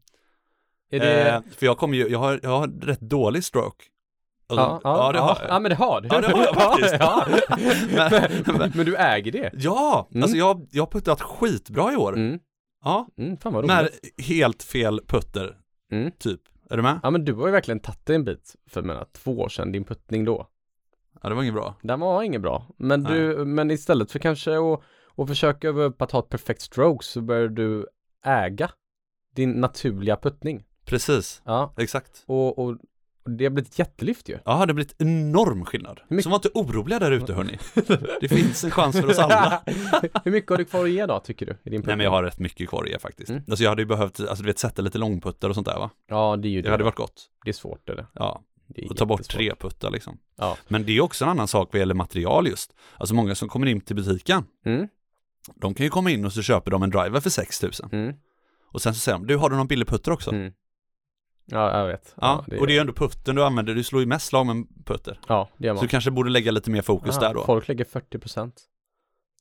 [SPEAKER 2] Är det...
[SPEAKER 1] alltså, Eh, för jag kommer ju, jag har, jag har rätt dålig stroke.
[SPEAKER 2] Ja, ja,
[SPEAKER 1] det har jag.
[SPEAKER 2] ja, men det har du.
[SPEAKER 1] Ja, det har jag faktiskt.
[SPEAKER 2] [laughs] Ja,
[SPEAKER 1] [laughs] Men-
[SPEAKER 2] Men, men du äger det.
[SPEAKER 1] Ja,
[SPEAKER 2] Mm.
[SPEAKER 1] alltså jag, jag har puttat skitbra i år.
[SPEAKER 2] Mm.
[SPEAKER 1] Ja,
[SPEAKER 2] Mm, fan vad roligt.
[SPEAKER 1] med helt fel putter,
[SPEAKER 2] Mm.
[SPEAKER 1] typ. Är du med?
[SPEAKER 2] Ja men du har ju verkligen tagit dig en bit för jag menar, två år sedan din puttning då.
[SPEAKER 1] Ja, det var inget bra.
[SPEAKER 2] Den var ingen bra. Men, du, men istället för kanske att, att försöka öva upp att ha ett perfekt stroke så börjar du äga din naturliga puttning.
[SPEAKER 1] Precis,
[SPEAKER 2] Ja,
[SPEAKER 1] exakt.
[SPEAKER 2] och, och och det har blivit ett jättelyft ju.
[SPEAKER 1] Ja, det har blivit enorm skillnad.
[SPEAKER 2] mycket-
[SPEAKER 1] Så var inte oroliga där ute hörni. [laughs] Det finns en chans
[SPEAKER 2] [laughs]
[SPEAKER 1] för oss alla.
[SPEAKER 2] Hur mycket har du kvar att ge då tycker du? I din
[SPEAKER 1] Nej
[SPEAKER 2] puttning?
[SPEAKER 1] men jag har rätt mycket kvar att ge faktiskt.
[SPEAKER 2] Mm.
[SPEAKER 1] Alltså jag hade ju behövt, alltså du vet sätta lite långputtar och sånt där va?
[SPEAKER 2] Ja det är ju
[SPEAKER 1] Det
[SPEAKER 2] det.
[SPEAKER 1] hade varit gott.
[SPEAKER 2] Det är svårt det där.
[SPEAKER 1] Ja,
[SPEAKER 2] Det är
[SPEAKER 1] och ta bort
[SPEAKER 2] jättesvårt.
[SPEAKER 1] tre puttar liksom.
[SPEAKER 2] Ja.
[SPEAKER 1] Men det är också en annan sak vad gäller material just. Alltså många som kommer in till butiken,
[SPEAKER 2] Mm,
[SPEAKER 1] de kan ju komma in och så köper de en driver för 6000.
[SPEAKER 2] mm,
[SPEAKER 1] Och sen så säger de, du har du någon billig putter också?
[SPEAKER 2] mm. Ja jag vet.
[SPEAKER 1] Ja, och det är ju ändå putten du använder, du slår ju mest slag med putter.
[SPEAKER 2] Ja det gör
[SPEAKER 1] Så
[SPEAKER 2] man.
[SPEAKER 1] du kanske borde lägga lite mer fokus
[SPEAKER 2] Ah,
[SPEAKER 1] där då.
[SPEAKER 2] Folk lägger 40 procent.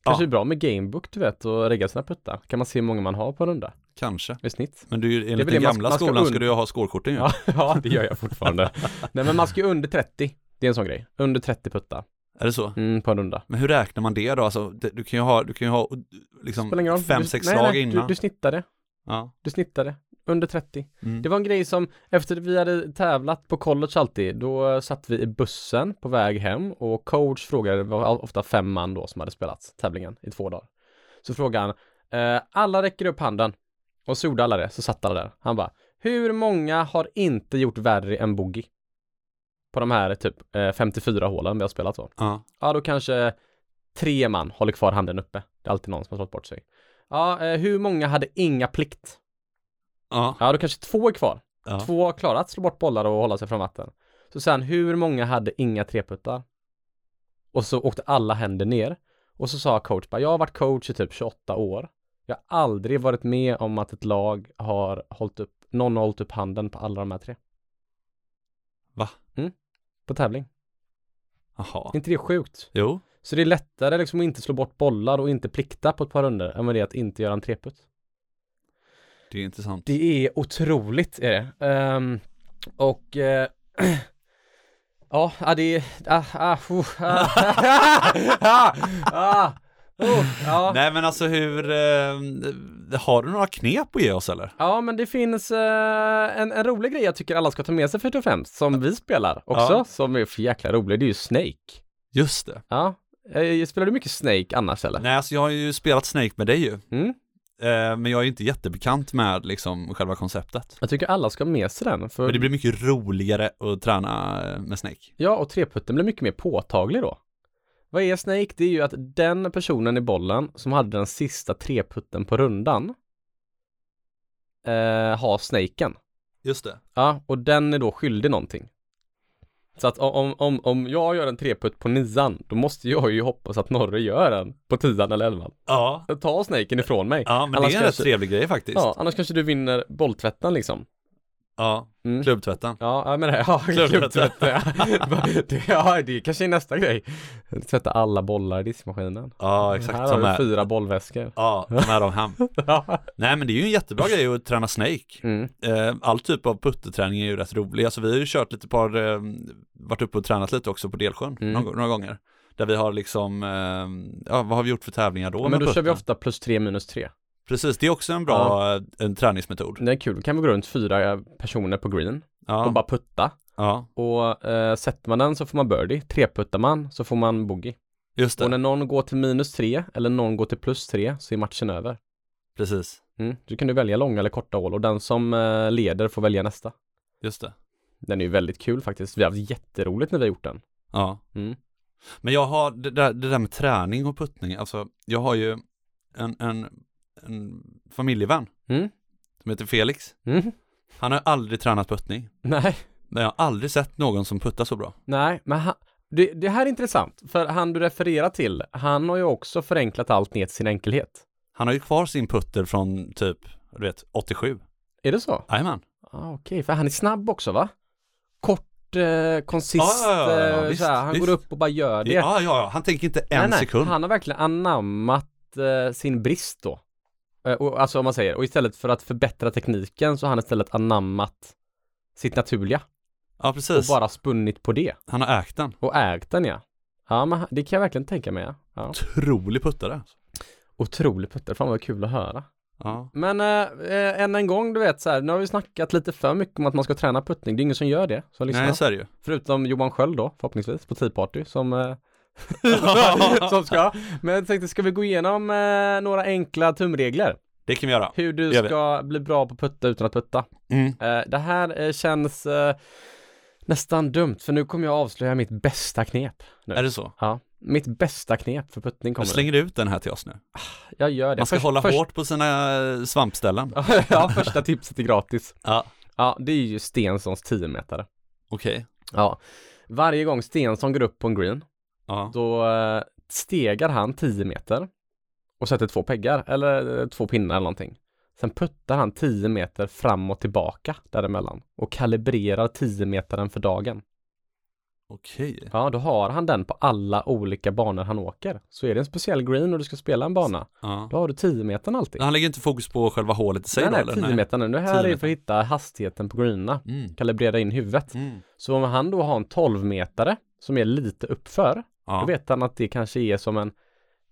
[SPEAKER 2] Kanske är bra med gamebook du vet och regga sina puttar. Kan man se hur många man har på en runda
[SPEAKER 1] Kanske.
[SPEAKER 2] i snitt?
[SPEAKER 1] Men du, enligt
[SPEAKER 2] väl
[SPEAKER 1] den
[SPEAKER 2] det man-
[SPEAKER 1] gamla
[SPEAKER 2] man ska
[SPEAKER 1] skolan
[SPEAKER 2] und-
[SPEAKER 1] ska du ju ha skålkorten ju.
[SPEAKER 2] Ja, [laughs] ja det gör jag fortfarande. [laughs] Nej men man ska ju under 30. Det är en sån grej. Under 30 puttar
[SPEAKER 1] Är det så?
[SPEAKER 2] mm, på en runda.
[SPEAKER 1] Men hur räknar man det då? Alltså, det, du kan ju ha, du kan ju ha liksom
[SPEAKER 2] Spelar ingen roll.
[SPEAKER 1] fem,
[SPEAKER 2] Du-
[SPEAKER 1] sex
[SPEAKER 2] nej,
[SPEAKER 1] slag
[SPEAKER 2] nej,
[SPEAKER 1] innan.
[SPEAKER 2] Du, du snittade.
[SPEAKER 1] Ja.
[SPEAKER 2] Du snittade. Under 30.
[SPEAKER 1] Mm.
[SPEAKER 2] Det var en grej som, efter vi hade tävlat på college alltid, då satt vi i bussen på väg hem och coach frågade, det var ofta fem man då som hade spelat tävlingen i två dagar. Så frågade han, eh, alla räcker upp handen. Och så gjorde alla det, så satt alla där. Han bara, hur många har inte gjort värre än boogie? På de här typ eh, 54 hålen vi har spelat då.
[SPEAKER 1] ja.
[SPEAKER 2] Ja, då kanske tre man håller kvar handen uppe. Det är alltid någon som har slått bort sig. Ja, eh, hur många hade inga plikt?
[SPEAKER 1] Ja.
[SPEAKER 2] Ja, då kanske två är kvar.
[SPEAKER 1] Ja.
[SPEAKER 2] Två har klarat att slå bort bollar och hålla sig från vatten. Så sen, hur många hade inga treputtar? Och så åkte alla händer ner. Och så sa coach bara, jag har varit coach i typ 28 år. Jag har aldrig varit med om att ett lag har hållit upp, någon har hållit upp handen på alla de här tre.
[SPEAKER 1] Va?
[SPEAKER 2] Mm. På tävling.
[SPEAKER 1] Jaha.
[SPEAKER 2] Är inte det sjukt?
[SPEAKER 1] Jo.
[SPEAKER 2] Så det är lättare liksom att inte slå bort bollar och inte plikta på ett par runder än vad det är att inte göra en treputt.
[SPEAKER 1] Det är intressant.
[SPEAKER 2] Det är otroligt är det. Ehm, och eh, [clears throat] ja, ja, det är... Ah, ah, oh, ah, [laughs] ah, ah, oh, ja.
[SPEAKER 1] Nej men alltså hur, eh, har du några knep att ge oss eller?
[SPEAKER 2] ja, men det finns eh, en, en rolig grej jag tycker alla ska ta med sig först och främst, som vi spelar också,
[SPEAKER 1] Ja.
[SPEAKER 2] som är för jäkla rolig, det är ju Snake.
[SPEAKER 1] Just det.
[SPEAKER 2] Ja. Eh, Spelar du mycket Snake annars eller?
[SPEAKER 1] Nej alltså jag har ju spelat Snake med dig ju.
[SPEAKER 2] Mm.
[SPEAKER 1] Eh, men jag är ju inte jättebekant med liksom själva konceptet.
[SPEAKER 2] Jag tycker alla ska ha med sig den. För...
[SPEAKER 1] Men det blir mycket roligare att träna eh, med Snake.
[SPEAKER 2] Ja, och treputten blir mycket mer påtaglig då. Vad är Snake? Det är ju att den personen i bollen som hade den sista treputten på rundan eh, har snaken.
[SPEAKER 1] Just det.
[SPEAKER 2] Ja, och den är då skyldig någonting. Så att om, om, om jag gör en treputt på nian, då måste jag ju hoppas att Norre gör en på tian eller elvan.
[SPEAKER 1] Ja.
[SPEAKER 2] Ta snaken ifrån mig.
[SPEAKER 1] Ja men
[SPEAKER 2] Annars
[SPEAKER 1] det är en rätt
[SPEAKER 2] kanske-
[SPEAKER 1] trevlig grej faktiskt.
[SPEAKER 2] Ja, annars kanske du vinner bolltvätten liksom.
[SPEAKER 1] ja.
[SPEAKER 2] Mm.
[SPEAKER 1] Klubbtvätten.
[SPEAKER 2] Ja, jag menar det. Ja,
[SPEAKER 1] Klubbtvätt.
[SPEAKER 2] klubbtvätt. Ja. [laughs] Det- ja, det kanske är nästa grej. Tvätta alla bollar i diskmaskinen.
[SPEAKER 1] Ja exakt.
[SPEAKER 2] Här
[SPEAKER 1] Som
[SPEAKER 2] har
[SPEAKER 1] är.
[SPEAKER 2] du
[SPEAKER 1] [laughs]
[SPEAKER 2] fyra bollväskor.
[SPEAKER 1] Ja, de är de hem.
[SPEAKER 2] Ja.
[SPEAKER 1] Nej men det är ju en jättebra grej att träna Snake.
[SPEAKER 2] Mm.
[SPEAKER 1] Eh, All typ av putteträning är ju rätt rolig. Alltså vi har ju kört lite par, eh, varit uppe och tränat lite också på Delsjön
[SPEAKER 2] Mm.
[SPEAKER 1] några, några gånger. Där vi har liksom, eh, ja vad har vi gjort för tävlingar då? med
[SPEAKER 2] Men då kör vi
[SPEAKER 1] putten?
[SPEAKER 2] ofta plus tre minus tre.
[SPEAKER 1] Precis, det är också en bra eh, en träningsmetod.
[SPEAKER 2] Det är kul. Då kan vi gå runt fyra personer på green
[SPEAKER 1] Ja,
[SPEAKER 2] och bara putta.
[SPEAKER 1] ja
[SPEAKER 2] Och eh, sätter man den så får man birdie. Treputtar man så får man bogey.
[SPEAKER 1] just det,
[SPEAKER 2] Och när någon går till minus tre eller någon går till plus tre så är matchen över.
[SPEAKER 1] precis.
[SPEAKER 2] Mm. Då kan du välja långa eller korta hål och den som eh, leder får välja nästa.
[SPEAKER 1] Just det.
[SPEAKER 2] Den är ju väldigt kul faktiskt. Vi har haft jätteroligt när vi har gjort den.
[SPEAKER 1] Ja.
[SPEAKER 2] Mm.
[SPEAKER 1] Men jag har, det där, det där med träning och puttning, alltså jag har ju en, en, en familjevän
[SPEAKER 2] Mm.
[SPEAKER 1] som heter Felix.
[SPEAKER 2] Mm.
[SPEAKER 1] Han har aldrig tränat puttning,
[SPEAKER 2] Nej,
[SPEAKER 1] men jag har aldrig sett någon som puttar så bra.
[SPEAKER 2] nej, men han, det, det här är intressant, för han du refererar till, han har ju också förenklat allt ner till sin enkelhet.
[SPEAKER 1] Han har ju kvar sin putter från typ, du vet, 87.
[SPEAKER 2] Är det så?
[SPEAKER 1] Jajamän.
[SPEAKER 2] Ah, Okej, för han är snabb också va? Kort, eh, konsist,
[SPEAKER 1] Ja, ja, ja, ja,
[SPEAKER 2] eh,
[SPEAKER 1] visst,
[SPEAKER 2] så här, han
[SPEAKER 1] visst.
[SPEAKER 2] går upp och bara gör det.
[SPEAKER 1] Ja, ja, ja, han tänker inte en
[SPEAKER 2] Nej, nej,
[SPEAKER 1] sekund.
[SPEAKER 2] Han har verkligen anammat eh, sin brist då. Eh, och, alltså om man säger, och istället för att förbättra tekniken så har han istället anammat sitt naturliga.
[SPEAKER 1] Ja,
[SPEAKER 2] och
[SPEAKER 1] precis.
[SPEAKER 2] bara spunnit på det
[SPEAKER 1] Han har ägt den.
[SPEAKER 2] och ägt den ja. Ja, men det kan jag verkligen tänka mig. Ja. Ja.
[SPEAKER 1] Otrolig puttare. alltså.
[SPEAKER 2] Otroligt Petter, fan vad kul att höra.
[SPEAKER 1] Ja.
[SPEAKER 2] Men eh, eh, än en gång, du vet så här, nu har vi snackat lite för mycket om att man ska träna puttning. Det är ingen som gör det, som lyssnar.
[SPEAKER 1] Nej, så är det
[SPEAKER 2] [laughs]
[SPEAKER 1] ju.
[SPEAKER 2] Förutom Johan Sköld då, förhoppningsvis, på Tea Party som, eh, [laughs] som
[SPEAKER 1] [laughs] Ja.
[SPEAKER 2] ska. Men jag tänkte, ska vi gå igenom eh, några enkla tumregler?
[SPEAKER 1] [laughs] det kan vi göra.
[SPEAKER 2] Hur du
[SPEAKER 1] Det gör vi.
[SPEAKER 2] ska bli bra på putta utan att putta.
[SPEAKER 1] Mm.
[SPEAKER 2] Eh, det här eh, känns eh, nästan dumt, för nu kommer jag avslöja mitt bästa knep.
[SPEAKER 1] Är det så?
[SPEAKER 2] Ja, mitt bästa knep för puttning
[SPEAKER 1] Du
[SPEAKER 2] kommer.
[SPEAKER 1] slänger ut den här till oss nu.
[SPEAKER 2] det. Jag gör det.
[SPEAKER 1] Man ska
[SPEAKER 2] Först-
[SPEAKER 1] hålla
[SPEAKER 2] först-
[SPEAKER 1] hårt på sina eh, svampställen.
[SPEAKER 2] [laughs] ja, första tipset är gratis.
[SPEAKER 1] Ja.
[SPEAKER 2] Ja, det är ju Stensons 10-metare.
[SPEAKER 1] Okej.
[SPEAKER 2] Ja. Varje gång Stensson går upp på en green,
[SPEAKER 1] Ja.
[SPEAKER 2] då eh, stegar han 10 meter och sätter två peggar, eller eh, två pinnar eller någonting. Sen puttar han 10 meter fram och tillbaka däremellan och kalibrerar 10 metern för dagen.
[SPEAKER 1] Okej.
[SPEAKER 2] Ja, då har han den på alla olika banor han åker. Så är det en speciell green och du ska spela en bana,
[SPEAKER 1] Ja.
[SPEAKER 2] då har du 10 metern alltid.
[SPEAKER 1] Han lägger inte fokus på själva hålet i sig
[SPEAKER 2] nej,
[SPEAKER 1] då,
[SPEAKER 2] nej,
[SPEAKER 1] eller?
[SPEAKER 2] 10 metern. Det här är för
[SPEAKER 1] 10-metern.
[SPEAKER 2] att hitta hastigheten på greena.
[SPEAKER 1] Mm.
[SPEAKER 2] Kalibrera in huvudet.
[SPEAKER 1] Mm.
[SPEAKER 2] Så om han då har en 12-metare som är lite uppför, då
[SPEAKER 1] Ja.
[SPEAKER 2] vet han att det kanske är som en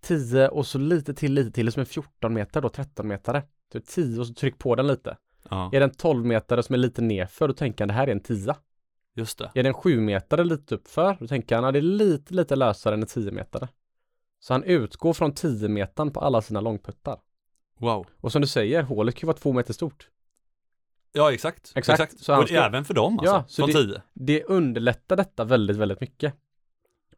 [SPEAKER 2] 10 och så lite till, lite till, som en 14-metare då, 13-metare. Så 10 och så tryck på den lite.
[SPEAKER 1] ja,
[SPEAKER 2] Är det en 12-metare som är lite nerför, då tänker han det här är en 10.
[SPEAKER 1] just det.
[SPEAKER 2] Är det en 7-metare lite uppför, då tänker han att det är lite, lite lösare än en 10-metare. Så han utgår från 10-metaren på alla sina långputtar.
[SPEAKER 1] Wow.
[SPEAKER 2] Och som du säger, hålet kan ju vara två meter stort.
[SPEAKER 1] Ja, exakt.
[SPEAKER 2] Exakt. Så han
[SPEAKER 1] och
[SPEAKER 2] ska-
[SPEAKER 1] även för dem
[SPEAKER 2] Ja,
[SPEAKER 1] alltså.
[SPEAKER 2] så
[SPEAKER 1] Från
[SPEAKER 2] det-
[SPEAKER 1] 10.
[SPEAKER 2] det underlättar detta väldigt, väldigt mycket.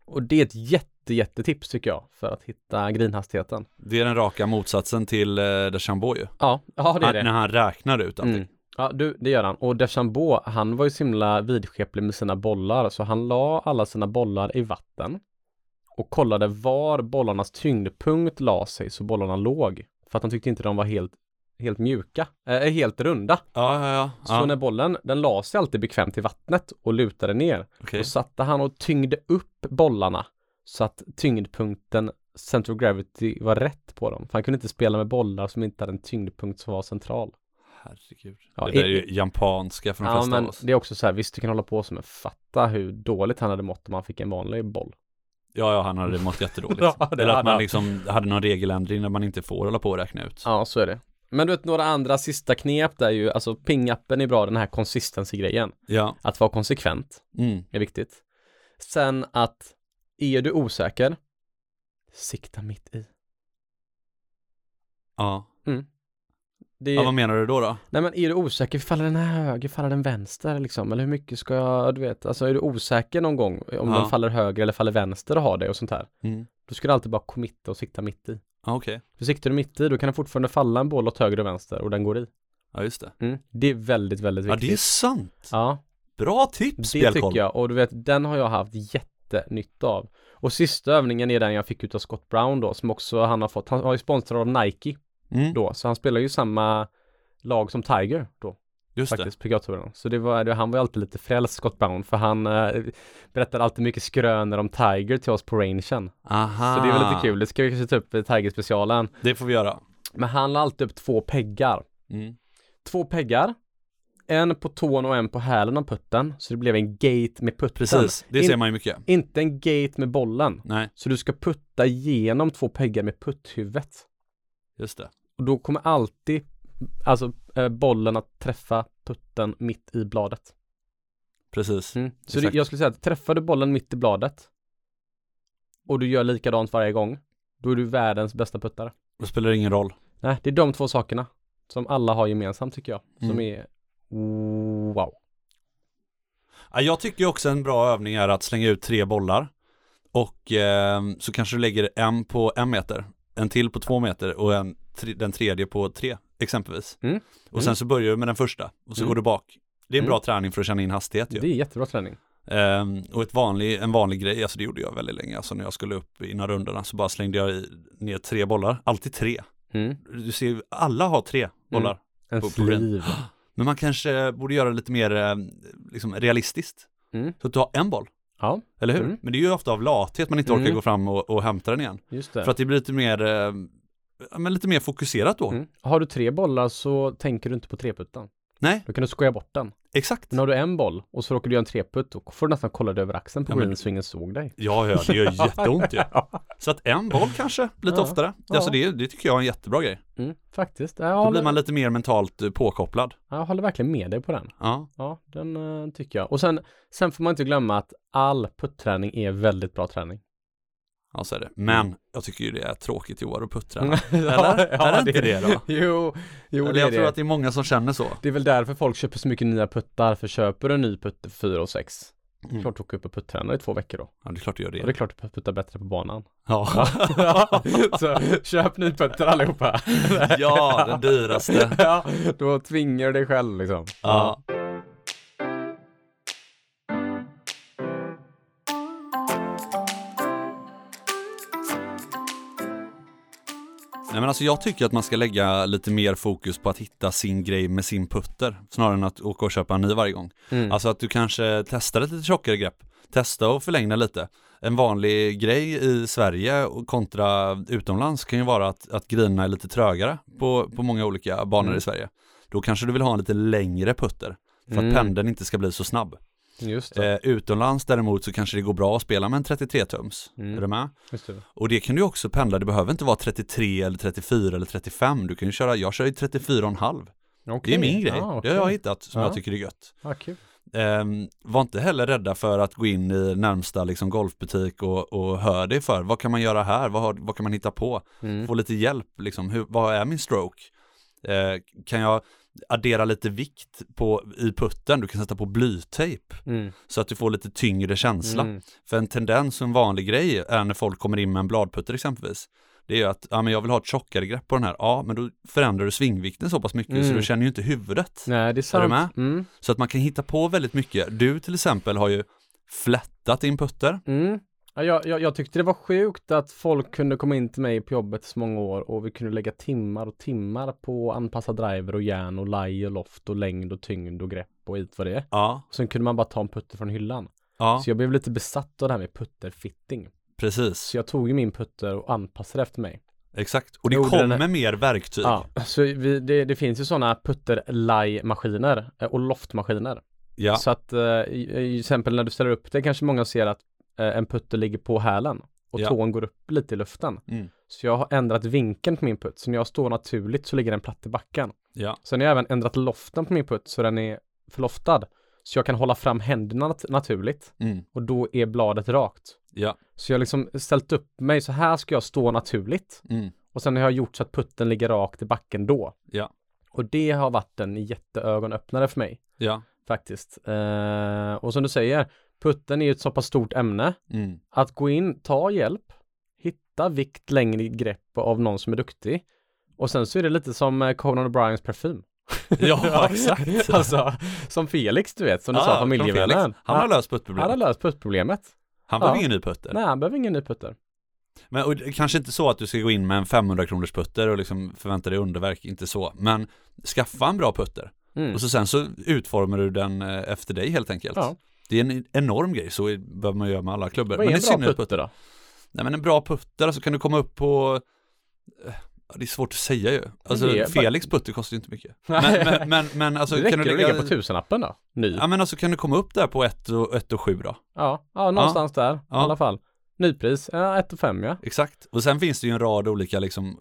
[SPEAKER 2] Och det är ett jätte, jättetips tycker jag för att hitta greenhastigheten.
[SPEAKER 1] Det är den raka motsatsen till uh, Deschambault ju.
[SPEAKER 2] Ja, ja det är
[SPEAKER 1] Han,
[SPEAKER 2] det.
[SPEAKER 1] när han räknar ut allting.
[SPEAKER 2] Mm. Ja, du, det gör han. Och Deschambault, han var ju så himla vidskeplig med sina bollar, så han la alla sina bollar i vatten och kollade var bollarnas tyngdpunkt la sig så bollarna låg. För att han tyckte inte de var helt, helt mjuka, eh, helt runda.
[SPEAKER 1] Ja, ja, ja. ja.
[SPEAKER 2] Så när bollen, den la sig alltid bekvämt i vattnet och lutade ner.
[SPEAKER 1] Okej.
[SPEAKER 2] Då satte han och tyngde upp bollarna så att tyngdpunkten center of gravity var rätt på dem. För han kunde inte spela med bollar som inte hade en tyngdpunkt som var central.
[SPEAKER 1] Herregud.
[SPEAKER 2] Ja,
[SPEAKER 1] det där är
[SPEAKER 2] i-
[SPEAKER 1] ju jampanska för de
[SPEAKER 2] Ja,
[SPEAKER 1] flesta av
[SPEAKER 2] men
[SPEAKER 1] oss.
[SPEAKER 2] det är också så här, visst du kan hålla på som en fatta hur dåligt han hade mått om han fick en vanlig boll.
[SPEAKER 1] Ja, ja, han hade mått jättedåligt.
[SPEAKER 2] [laughs] Ja, det
[SPEAKER 1] Eller att
[SPEAKER 2] hade
[SPEAKER 1] man
[SPEAKER 2] han.
[SPEAKER 1] liksom hade någon regeländring när man inte får hålla på och räkna ut.
[SPEAKER 2] Ja, så är det. Men du vet, några andra sista knep där ju, alltså ping-appen är bra, den här consistency-grejen.
[SPEAKER 1] Ja.
[SPEAKER 2] Att vara konsekvent.
[SPEAKER 1] Mm.
[SPEAKER 2] är viktigt. Sen att är du osäker, sikta mitt i.
[SPEAKER 1] Ja.
[SPEAKER 2] Det är,
[SPEAKER 1] ja, vad menar du då? då?
[SPEAKER 2] Nej men är du osäker, faller den här höger, faller den vänster liksom? Eller hur mycket ska jag, du vet, alltså är du osäker någon gång eh, om
[SPEAKER 1] Ja.
[SPEAKER 2] den faller höger eller faller vänster och har dig och sånt här.
[SPEAKER 1] Mm.
[SPEAKER 2] Då ska du alltid bara committa och sikta mitt i.
[SPEAKER 1] Ja, okej.
[SPEAKER 2] För siktar du mitt i, då kan det fortfarande falla en boll åt höger och vänster och den går i.
[SPEAKER 1] Ja, just det.
[SPEAKER 2] Mm. Det är väldigt, väldigt
[SPEAKER 1] Ja,
[SPEAKER 2] viktigt.
[SPEAKER 1] det är sant.
[SPEAKER 2] ja.
[SPEAKER 1] Bra tips,
[SPEAKER 2] Det
[SPEAKER 1] Bjälkholm.
[SPEAKER 2] tycker jag och du vet den har jag haft jättenytta av. Och sista övningen är den jag fick utav Scott Brown då som också han har fått. Han var ju sponsrad av Nike
[SPEAKER 1] Mm.
[SPEAKER 2] då så han spelar ju samma lag som Tiger då
[SPEAKER 1] Just
[SPEAKER 2] faktiskt på PGA-touren. Så det var, det- han var ju alltid lite frälst Scott Brown för han eh, berättade alltid mycket skrönor om Tiger till oss på rangen.
[SPEAKER 1] det. Aha.
[SPEAKER 2] Så det är väl lite kul. Det ska vi kanske ta upp i Tiger-specialen.
[SPEAKER 1] Det får vi göra.
[SPEAKER 2] Men han la alltid upp två peggar.
[SPEAKER 1] Mm.
[SPEAKER 2] Två peggar. En på tån och en på hälen av putten. Så det blev en gate med putten.
[SPEAKER 1] Precis, det
[SPEAKER 2] In-
[SPEAKER 1] ser man ju mycket.
[SPEAKER 2] Inte en gate med bollen.
[SPEAKER 1] Nej,
[SPEAKER 2] Så du ska putta igenom två peggar med putthuvudet.
[SPEAKER 1] just det.
[SPEAKER 2] Och då kommer alltid alltså, eh, bollen att träffa putten mitt i bladet.
[SPEAKER 1] Precis.
[SPEAKER 2] Så det,
[SPEAKER 1] exakt.
[SPEAKER 2] jag skulle säga att träffar du bollen mitt i bladet och du gör likadant varje gång, då är du världens bästa puttare.
[SPEAKER 1] Då spelar det ingen roll.
[SPEAKER 2] Nej, det är de två sakerna som alla har gemensamt tycker jag. Som
[SPEAKER 1] Mm.
[SPEAKER 2] är wow.
[SPEAKER 1] Ja, jag tycker ju också en bra övning är att slänga ut tre bollar och eh, så kanske du lägger en på en meter, en till på två meter och en, tre, den tredje på tre exempelvis.
[SPEAKER 2] Mm.
[SPEAKER 1] Och
[SPEAKER 2] Mm.
[SPEAKER 1] sen så börjar du med den första och så
[SPEAKER 2] Mm.
[SPEAKER 1] går du bak. Det är en
[SPEAKER 2] Mm.
[SPEAKER 1] bra träning för att känna in hastighet ju.
[SPEAKER 2] Det är jättebra träning.
[SPEAKER 1] Ehm, och ett vanlig, en vanlig grej, alltså det gjorde jag väldigt länge, alltså när jag skulle upp innan rundorna så bara slängde jag i, ner tre bollar, alltid tre.
[SPEAKER 2] Mm.
[SPEAKER 1] Du ser ju, alla har tre bollar.
[SPEAKER 2] En
[SPEAKER 1] På- på green.
[SPEAKER 2] sliv.
[SPEAKER 1] Men man kanske borde göra det lite mer eh, liksom, realistiskt.
[SPEAKER 2] Mm.
[SPEAKER 1] Så att du har en boll,
[SPEAKER 2] Ja,
[SPEAKER 1] eller hur?
[SPEAKER 2] Mm.
[SPEAKER 1] Men det är ju ofta av lathet man inte
[SPEAKER 2] Mm.
[SPEAKER 1] orkar gå fram och, och hämta den igen.
[SPEAKER 2] just det.
[SPEAKER 1] För att det blir lite mer, eh, ja, men lite mer fokuserat då.
[SPEAKER 2] Mm. Har du tre bollar så tänker du inte på treputtan.
[SPEAKER 1] Nej.
[SPEAKER 2] Då kan du skoja bort den.
[SPEAKER 1] Exakt.
[SPEAKER 2] Men har du en boll och så råkar du göra en treputt, då får du nästan kolla dig över axeln på
[SPEAKER 1] Ja, men-
[SPEAKER 2] greenen så ingen såg dig.
[SPEAKER 1] Ja, ja, det
[SPEAKER 2] [laughs]
[SPEAKER 1] gör jätteont ju. Så att en boll kanske, lite
[SPEAKER 2] Ja.
[SPEAKER 1] oftare.
[SPEAKER 2] Ja.
[SPEAKER 1] Alltså det, det tycker jag är en jättebra grej.
[SPEAKER 2] [laughs] Mm, faktiskt. Ja, Jag
[SPEAKER 1] Då blir
[SPEAKER 2] håller,
[SPEAKER 1] man lite mer mentalt eh, påkopplad.
[SPEAKER 2] jag håller verkligen med dig på den.
[SPEAKER 1] Ja,
[SPEAKER 2] Ja, den eh, tycker jag. Och sen, sen får man inte glömma att all putträning är väldigt bra träning.
[SPEAKER 1] ja så är det. Men jag tycker ju det är tråkigt Joar att puttra.
[SPEAKER 2] [laughs] Ja,
[SPEAKER 1] Är det inte det då?
[SPEAKER 2] Jo, [laughs] jo
[SPEAKER 1] Eller
[SPEAKER 2] det är
[SPEAKER 1] jag
[SPEAKER 2] det.
[SPEAKER 1] tror att det är många som känner så.
[SPEAKER 2] Det är väl därför folk köper så mycket nya puttar, för köper du en ny putt för 4 och 6,
[SPEAKER 1] Mm.
[SPEAKER 2] klart du åker upp och puttränar i två veckor då.
[SPEAKER 1] Ja, det är klart det gör
[SPEAKER 2] Och det är
[SPEAKER 1] det.
[SPEAKER 2] klart du puttar bättre på [laughs] banan.
[SPEAKER 1] Ja,
[SPEAKER 2] så köp ny putter [laughs] allihopa.
[SPEAKER 1] ja [laughs] den dyraste.
[SPEAKER 2] [laughs] ja, då tvingar du dig själv liksom.
[SPEAKER 1] Ja. Nej men alltså jag tycker att man ska lägga lite mer fokus på att hitta sin grej med sin putter snarare än att åka och köpa en ny varje gång.
[SPEAKER 2] Mm.
[SPEAKER 1] Alltså att du kanske testar ett lite tjockare grepp, testa och förlänga lite. En vanlig grej i Sverige och kontra utomlands kan ju vara att, att grina är lite trögare på, på många olika banor
[SPEAKER 2] Mm.
[SPEAKER 1] i Sverige. Då kanske du vill ha en lite längre putter för att
[SPEAKER 2] Mm.
[SPEAKER 1] pendeln inte ska bli så snabb.
[SPEAKER 2] Just det.
[SPEAKER 1] Eh, utomlands däremot så kanske det går bra att spela med en 33-tums.
[SPEAKER 2] Mm.
[SPEAKER 1] Är du med?
[SPEAKER 2] Just det.
[SPEAKER 1] Och det kan du också pendla, det behöver inte vara 33 eller 34 eller 35. Du kan ju köra, jag kör ju 34,5. Det
[SPEAKER 2] Okej.
[SPEAKER 1] är min grej,
[SPEAKER 2] Ja,
[SPEAKER 1] det har jag
[SPEAKER 2] okej.
[SPEAKER 1] hittat som
[SPEAKER 2] Ja.
[SPEAKER 1] jag tycker är gött.
[SPEAKER 2] Ja, kul.
[SPEAKER 1] Ehm, var inte heller rädda för att gå in i närmsta liksom, golfbutik och, och hör dig för. Vad kan man göra här? Vad, har, vad kan man hitta på?
[SPEAKER 2] Mm.
[SPEAKER 1] Få lite hjälp, liksom. Hur, vad är min stroke? Eh, kan jag addera lite vikt på, i putten? Du kan sätta på blytejp
[SPEAKER 2] Mm.
[SPEAKER 1] så att du får lite tyngre känsla.
[SPEAKER 2] Mm.
[SPEAKER 1] För en tendens och en vanlig grej är när folk kommer in med en bladputter exempelvis. Det är ju att, ja men jag vill ha ett tjockare grepp på den här. Ja, men då förändrar du svingvikten så pass mycket så
[SPEAKER 2] Mm.
[SPEAKER 1] du känner ju inte huvudet.
[SPEAKER 2] Nej, det är sant.
[SPEAKER 1] med?
[SPEAKER 2] Mm.
[SPEAKER 1] Så att man kan hitta på väldigt mycket. Du till exempel har ju flättat din putter.
[SPEAKER 2] Mm. Ja, jag, jag, jag tyckte det var sjukt att folk kunde komma in till mig på jobbet så många år och vi kunde lägga timmar och timmar på att anpassa driver och järn och laj och loft och längd och tyngd och grepp och hit vad det är.
[SPEAKER 1] Ja,
[SPEAKER 2] Och sen kunde man bara ta en putter från hyllan.
[SPEAKER 1] ja,
[SPEAKER 2] Så jag blev lite besatt av det här med putterfitting.
[SPEAKER 1] precis.
[SPEAKER 2] Så jag tog ju min putter och anpassade efter mig.
[SPEAKER 1] Exakt. Och det
[SPEAKER 2] Jo, den är-
[SPEAKER 1] kommer mer verktyg.
[SPEAKER 2] Ja, så vi, det, det finns ju sådana putter-laj-maskiner eh, och loftmaskiner.
[SPEAKER 1] Ja,
[SPEAKER 2] Så att eh, i- i- till exempel när du ställer upp det kanske många ser att eh, en putter ligger på hälen och
[SPEAKER 1] Ja.
[SPEAKER 2] tån går upp lite i luften.
[SPEAKER 1] Mm.
[SPEAKER 2] Så jag har ändrat vinkeln på min putt. Så när jag står naturligt så ligger den platt i backen.
[SPEAKER 1] ja,
[SPEAKER 2] Sen har jag även ändrat loften på min putt så den är förloftad. Så jag kan hålla fram händerna nat- naturligt
[SPEAKER 1] mm,
[SPEAKER 2] och då är bladet rakt.
[SPEAKER 1] ja,
[SPEAKER 2] Så jag har liksom ställt upp mig så här ska jag stå naturligt.
[SPEAKER 1] mm,
[SPEAKER 2] Och sen har jag gjort så att putten ligger rakt i backen då.
[SPEAKER 1] Ja.
[SPEAKER 2] Och det har varit en jätteögonöppnare för mig
[SPEAKER 1] ja,
[SPEAKER 2] faktiskt. Eh, och som du säger, putten är ju ett så pass stort ämne.
[SPEAKER 1] mm,
[SPEAKER 2] Att gå in, ta hjälp, hitta vikt, längre grepp av någon som är duktig. Och sen så är det lite som eh, Conan O'Briens parfym. [laughs]
[SPEAKER 1] ja, [laughs] exakt.
[SPEAKER 2] alltså, som Felix, du vet, som du
[SPEAKER 1] Ja,
[SPEAKER 2] sa,
[SPEAKER 1] Ah, från Felix.
[SPEAKER 2] familjevännen.
[SPEAKER 1] Han har
[SPEAKER 2] han,
[SPEAKER 1] löst
[SPEAKER 2] han har
[SPEAKER 1] puttproblemet.
[SPEAKER 2] löst puttproblemet.
[SPEAKER 1] Han behöver
[SPEAKER 2] ja.
[SPEAKER 1] ingen ny putter.
[SPEAKER 2] Nej, han behöver ingen ny putter.
[SPEAKER 1] Men och, det- kanske inte så att du ska gå in med en 500 kronors putter och liksom förvänta dig underverk, inte så. Men skaffa en bra putter.
[SPEAKER 2] Mm.
[SPEAKER 1] Och så sen så utformar du den eh, efter dig helt enkelt.
[SPEAKER 2] Ja.
[SPEAKER 1] Det är en enorm grej, så behöver man göra med alla klubbor.
[SPEAKER 2] Vad är
[SPEAKER 1] i
[SPEAKER 2] en bra
[SPEAKER 1] synnerhet
[SPEAKER 2] putter då?
[SPEAKER 1] Nej men en bra putter, alltså kan du komma upp på eh, ja, det är svårt att säga ju. Alltså
[SPEAKER 2] Det är-
[SPEAKER 1] Felix putter kostar ju inte mycket. Men,
[SPEAKER 2] Nej.
[SPEAKER 1] men, men, men alltså
[SPEAKER 2] det
[SPEAKER 1] kan
[SPEAKER 2] räcker
[SPEAKER 1] du
[SPEAKER 2] att
[SPEAKER 1] lägga,
[SPEAKER 2] ligga på typ- tusenlappen då? Ny?
[SPEAKER 1] ja men alltså kan du komma upp där på 1 och, ett och 7 då?
[SPEAKER 2] Ja, ja någonstans där i
[SPEAKER 1] Ja.
[SPEAKER 2] alla fall. Nypris, ja, 1 5 ja.
[SPEAKER 1] Exakt. Och sen finns det ju en rad olika liksom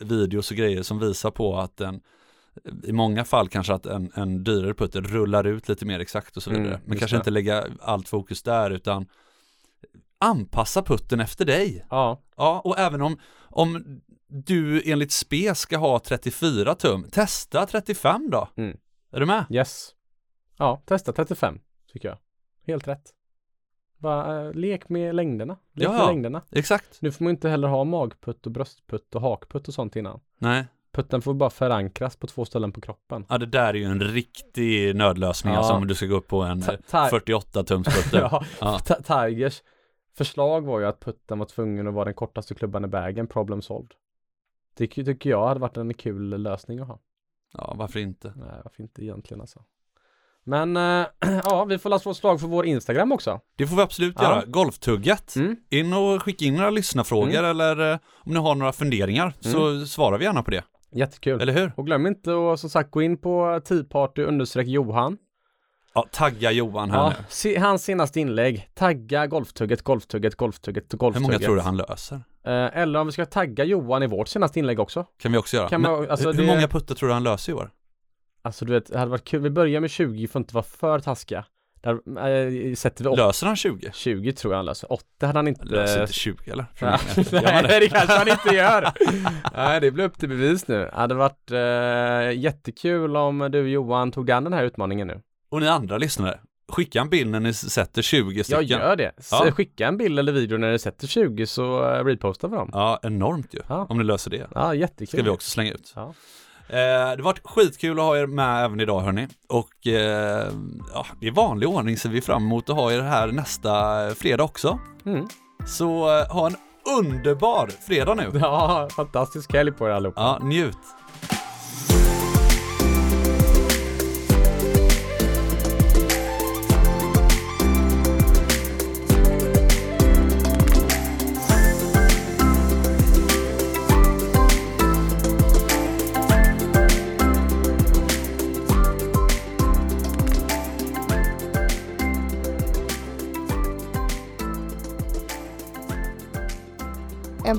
[SPEAKER 1] videos och grejer som visar på att en i många fall kanske att en, en dyrare putter rullar ut lite mer exakt och så vidare.
[SPEAKER 2] Mm,
[SPEAKER 1] men
[SPEAKER 2] just
[SPEAKER 1] kanske
[SPEAKER 2] det.
[SPEAKER 1] inte lägga allt fokus där utan anpassa putten efter dig.
[SPEAKER 2] Ja,
[SPEAKER 1] Ja, och även om, om du enligt SPE ska ha 34 tum, testa 35 då.
[SPEAKER 2] Mm.
[SPEAKER 1] Är du med?
[SPEAKER 2] Yes. Ja, testa 35 tycker jag. Helt rätt. Bara, eh, lek med längderna. Lek
[SPEAKER 1] Ja.
[SPEAKER 2] med längderna.
[SPEAKER 1] Exakt.
[SPEAKER 2] Nu får man inte heller ha magputt och bröstputt och hakputt och sånt innan.
[SPEAKER 1] Nej,
[SPEAKER 2] Putten får bara förankras på två ställen på kroppen.
[SPEAKER 1] ja det där är ju en riktig nödlösning
[SPEAKER 2] Ja.
[SPEAKER 1] alltså om du ska gå upp på en
[SPEAKER 2] Ta- [laughs] ta-
[SPEAKER 1] 48 tums putter.
[SPEAKER 2] ja. [laughs]
[SPEAKER 1] Ja.
[SPEAKER 2] Ti- Tigers förslag var ju att putten var tvungen att vara den kortaste klubban i vägen, problem solved. Det ty- tycker jag hade varit en kul lösning att ha.
[SPEAKER 1] Ja, varför inte?
[SPEAKER 2] Nej, varför inte egentligen alltså. Men eh, [clears throat] ja, vi får la slå ett slag för vår Instagram också.
[SPEAKER 1] Det får vi absolut
[SPEAKER 2] Ja.
[SPEAKER 1] göra. Golftugget.
[SPEAKER 2] Mm. Mm.
[SPEAKER 1] In och skicka in några lyssnarfrågor eller eh, om ni har några funderingar så svarar vi gärna på det.
[SPEAKER 2] Jättekul.
[SPEAKER 1] eller hur?
[SPEAKER 2] Och glöm inte att som sagt gå in på teaparty understreck Johan.
[SPEAKER 1] Ja, tagga Johan Mm. här
[SPEAKER 2] Ja,
[SPEAKER 1] nu.
[SPEAKER 2] se, hans senaste inlägg. Tagga golftugget, golftugget, golftugget, golftugget.
[SPEAKER 1] Hur många tror du han löser?
[SPEAKER 2] Eh, Eller om vi ska tagga Johan i vårt senaste inlägg också.
[SPEAKER 1] Kan vi också göra.
[SPEAKER 2] Kan
[SPEAKER 1] Men
[SPEAKER 2] man, alltså,
[SPEAKER 1] hur
[SPEAKER 2] det,
[SPEAKER 1] många putter tror du han löser i år?
[SPEAKER 2] alltså du vet, det hade varit kul. Vi börjar med 20 för att inte vara för taskiga. Där eh, sätter vi 8,
[SPEAKER 1] Löser han 20?
[SPEAKER 2] 20 tror jag han löser. 8 hade han inte...
[SPEAKER 1] Löser inte 20 eller? Från
[SPEAKER 2] Ja,
[SPEAKER 1] min mening. Gör han det?
[SPEAKER 2] Eh, [laughs] Nej, det kanske han inte
[SPEAKER 1] [laughs]
[SPEAKER 2] gör. Nej, det blir upp till bevis nu. Det hade varit eh, jättekul om du Johan tog dig an den här utmaningen nu.
[SPEAKER 1] Och ni andra lyssnare, skicka en bild när ni sätter 20
[SPEAKER 2] Jag
[SPEAKER 1] stycken.
[SPEAKER 2] gör det. S-
[SPEAKER 1] Ja.
[SPEAKER 2] Skicka en bild eller video när du sätter 20 så eh, repostar vi dem.
[SPEAKER 1] Ja, enormt ju.
[SPEAKER 2] Ja.
[SPEAKER 1] Om ni löser det.
[SPEAKER 2] Ja, jättekul.
[SPEAKER 1] Ska vi också slänga ut.
[SPEAKER 2] Ja.
[SPEAKER 1] Eh, det har varit skitkul att ha er med även idag hörni. Och eh, ja, i vanlig ordning ser vi fram emot att ha er här nästa fredag också.
[SPEAKER 2] Mm.
[SPEAKER 1] Så eh, ha en underbar fredag nu.
[SPEAKER 2] [laughs] ja, fantastisk helg på er allihopa.
[SPEAKER 1] Ja, njut.
[SPEAKER 3] En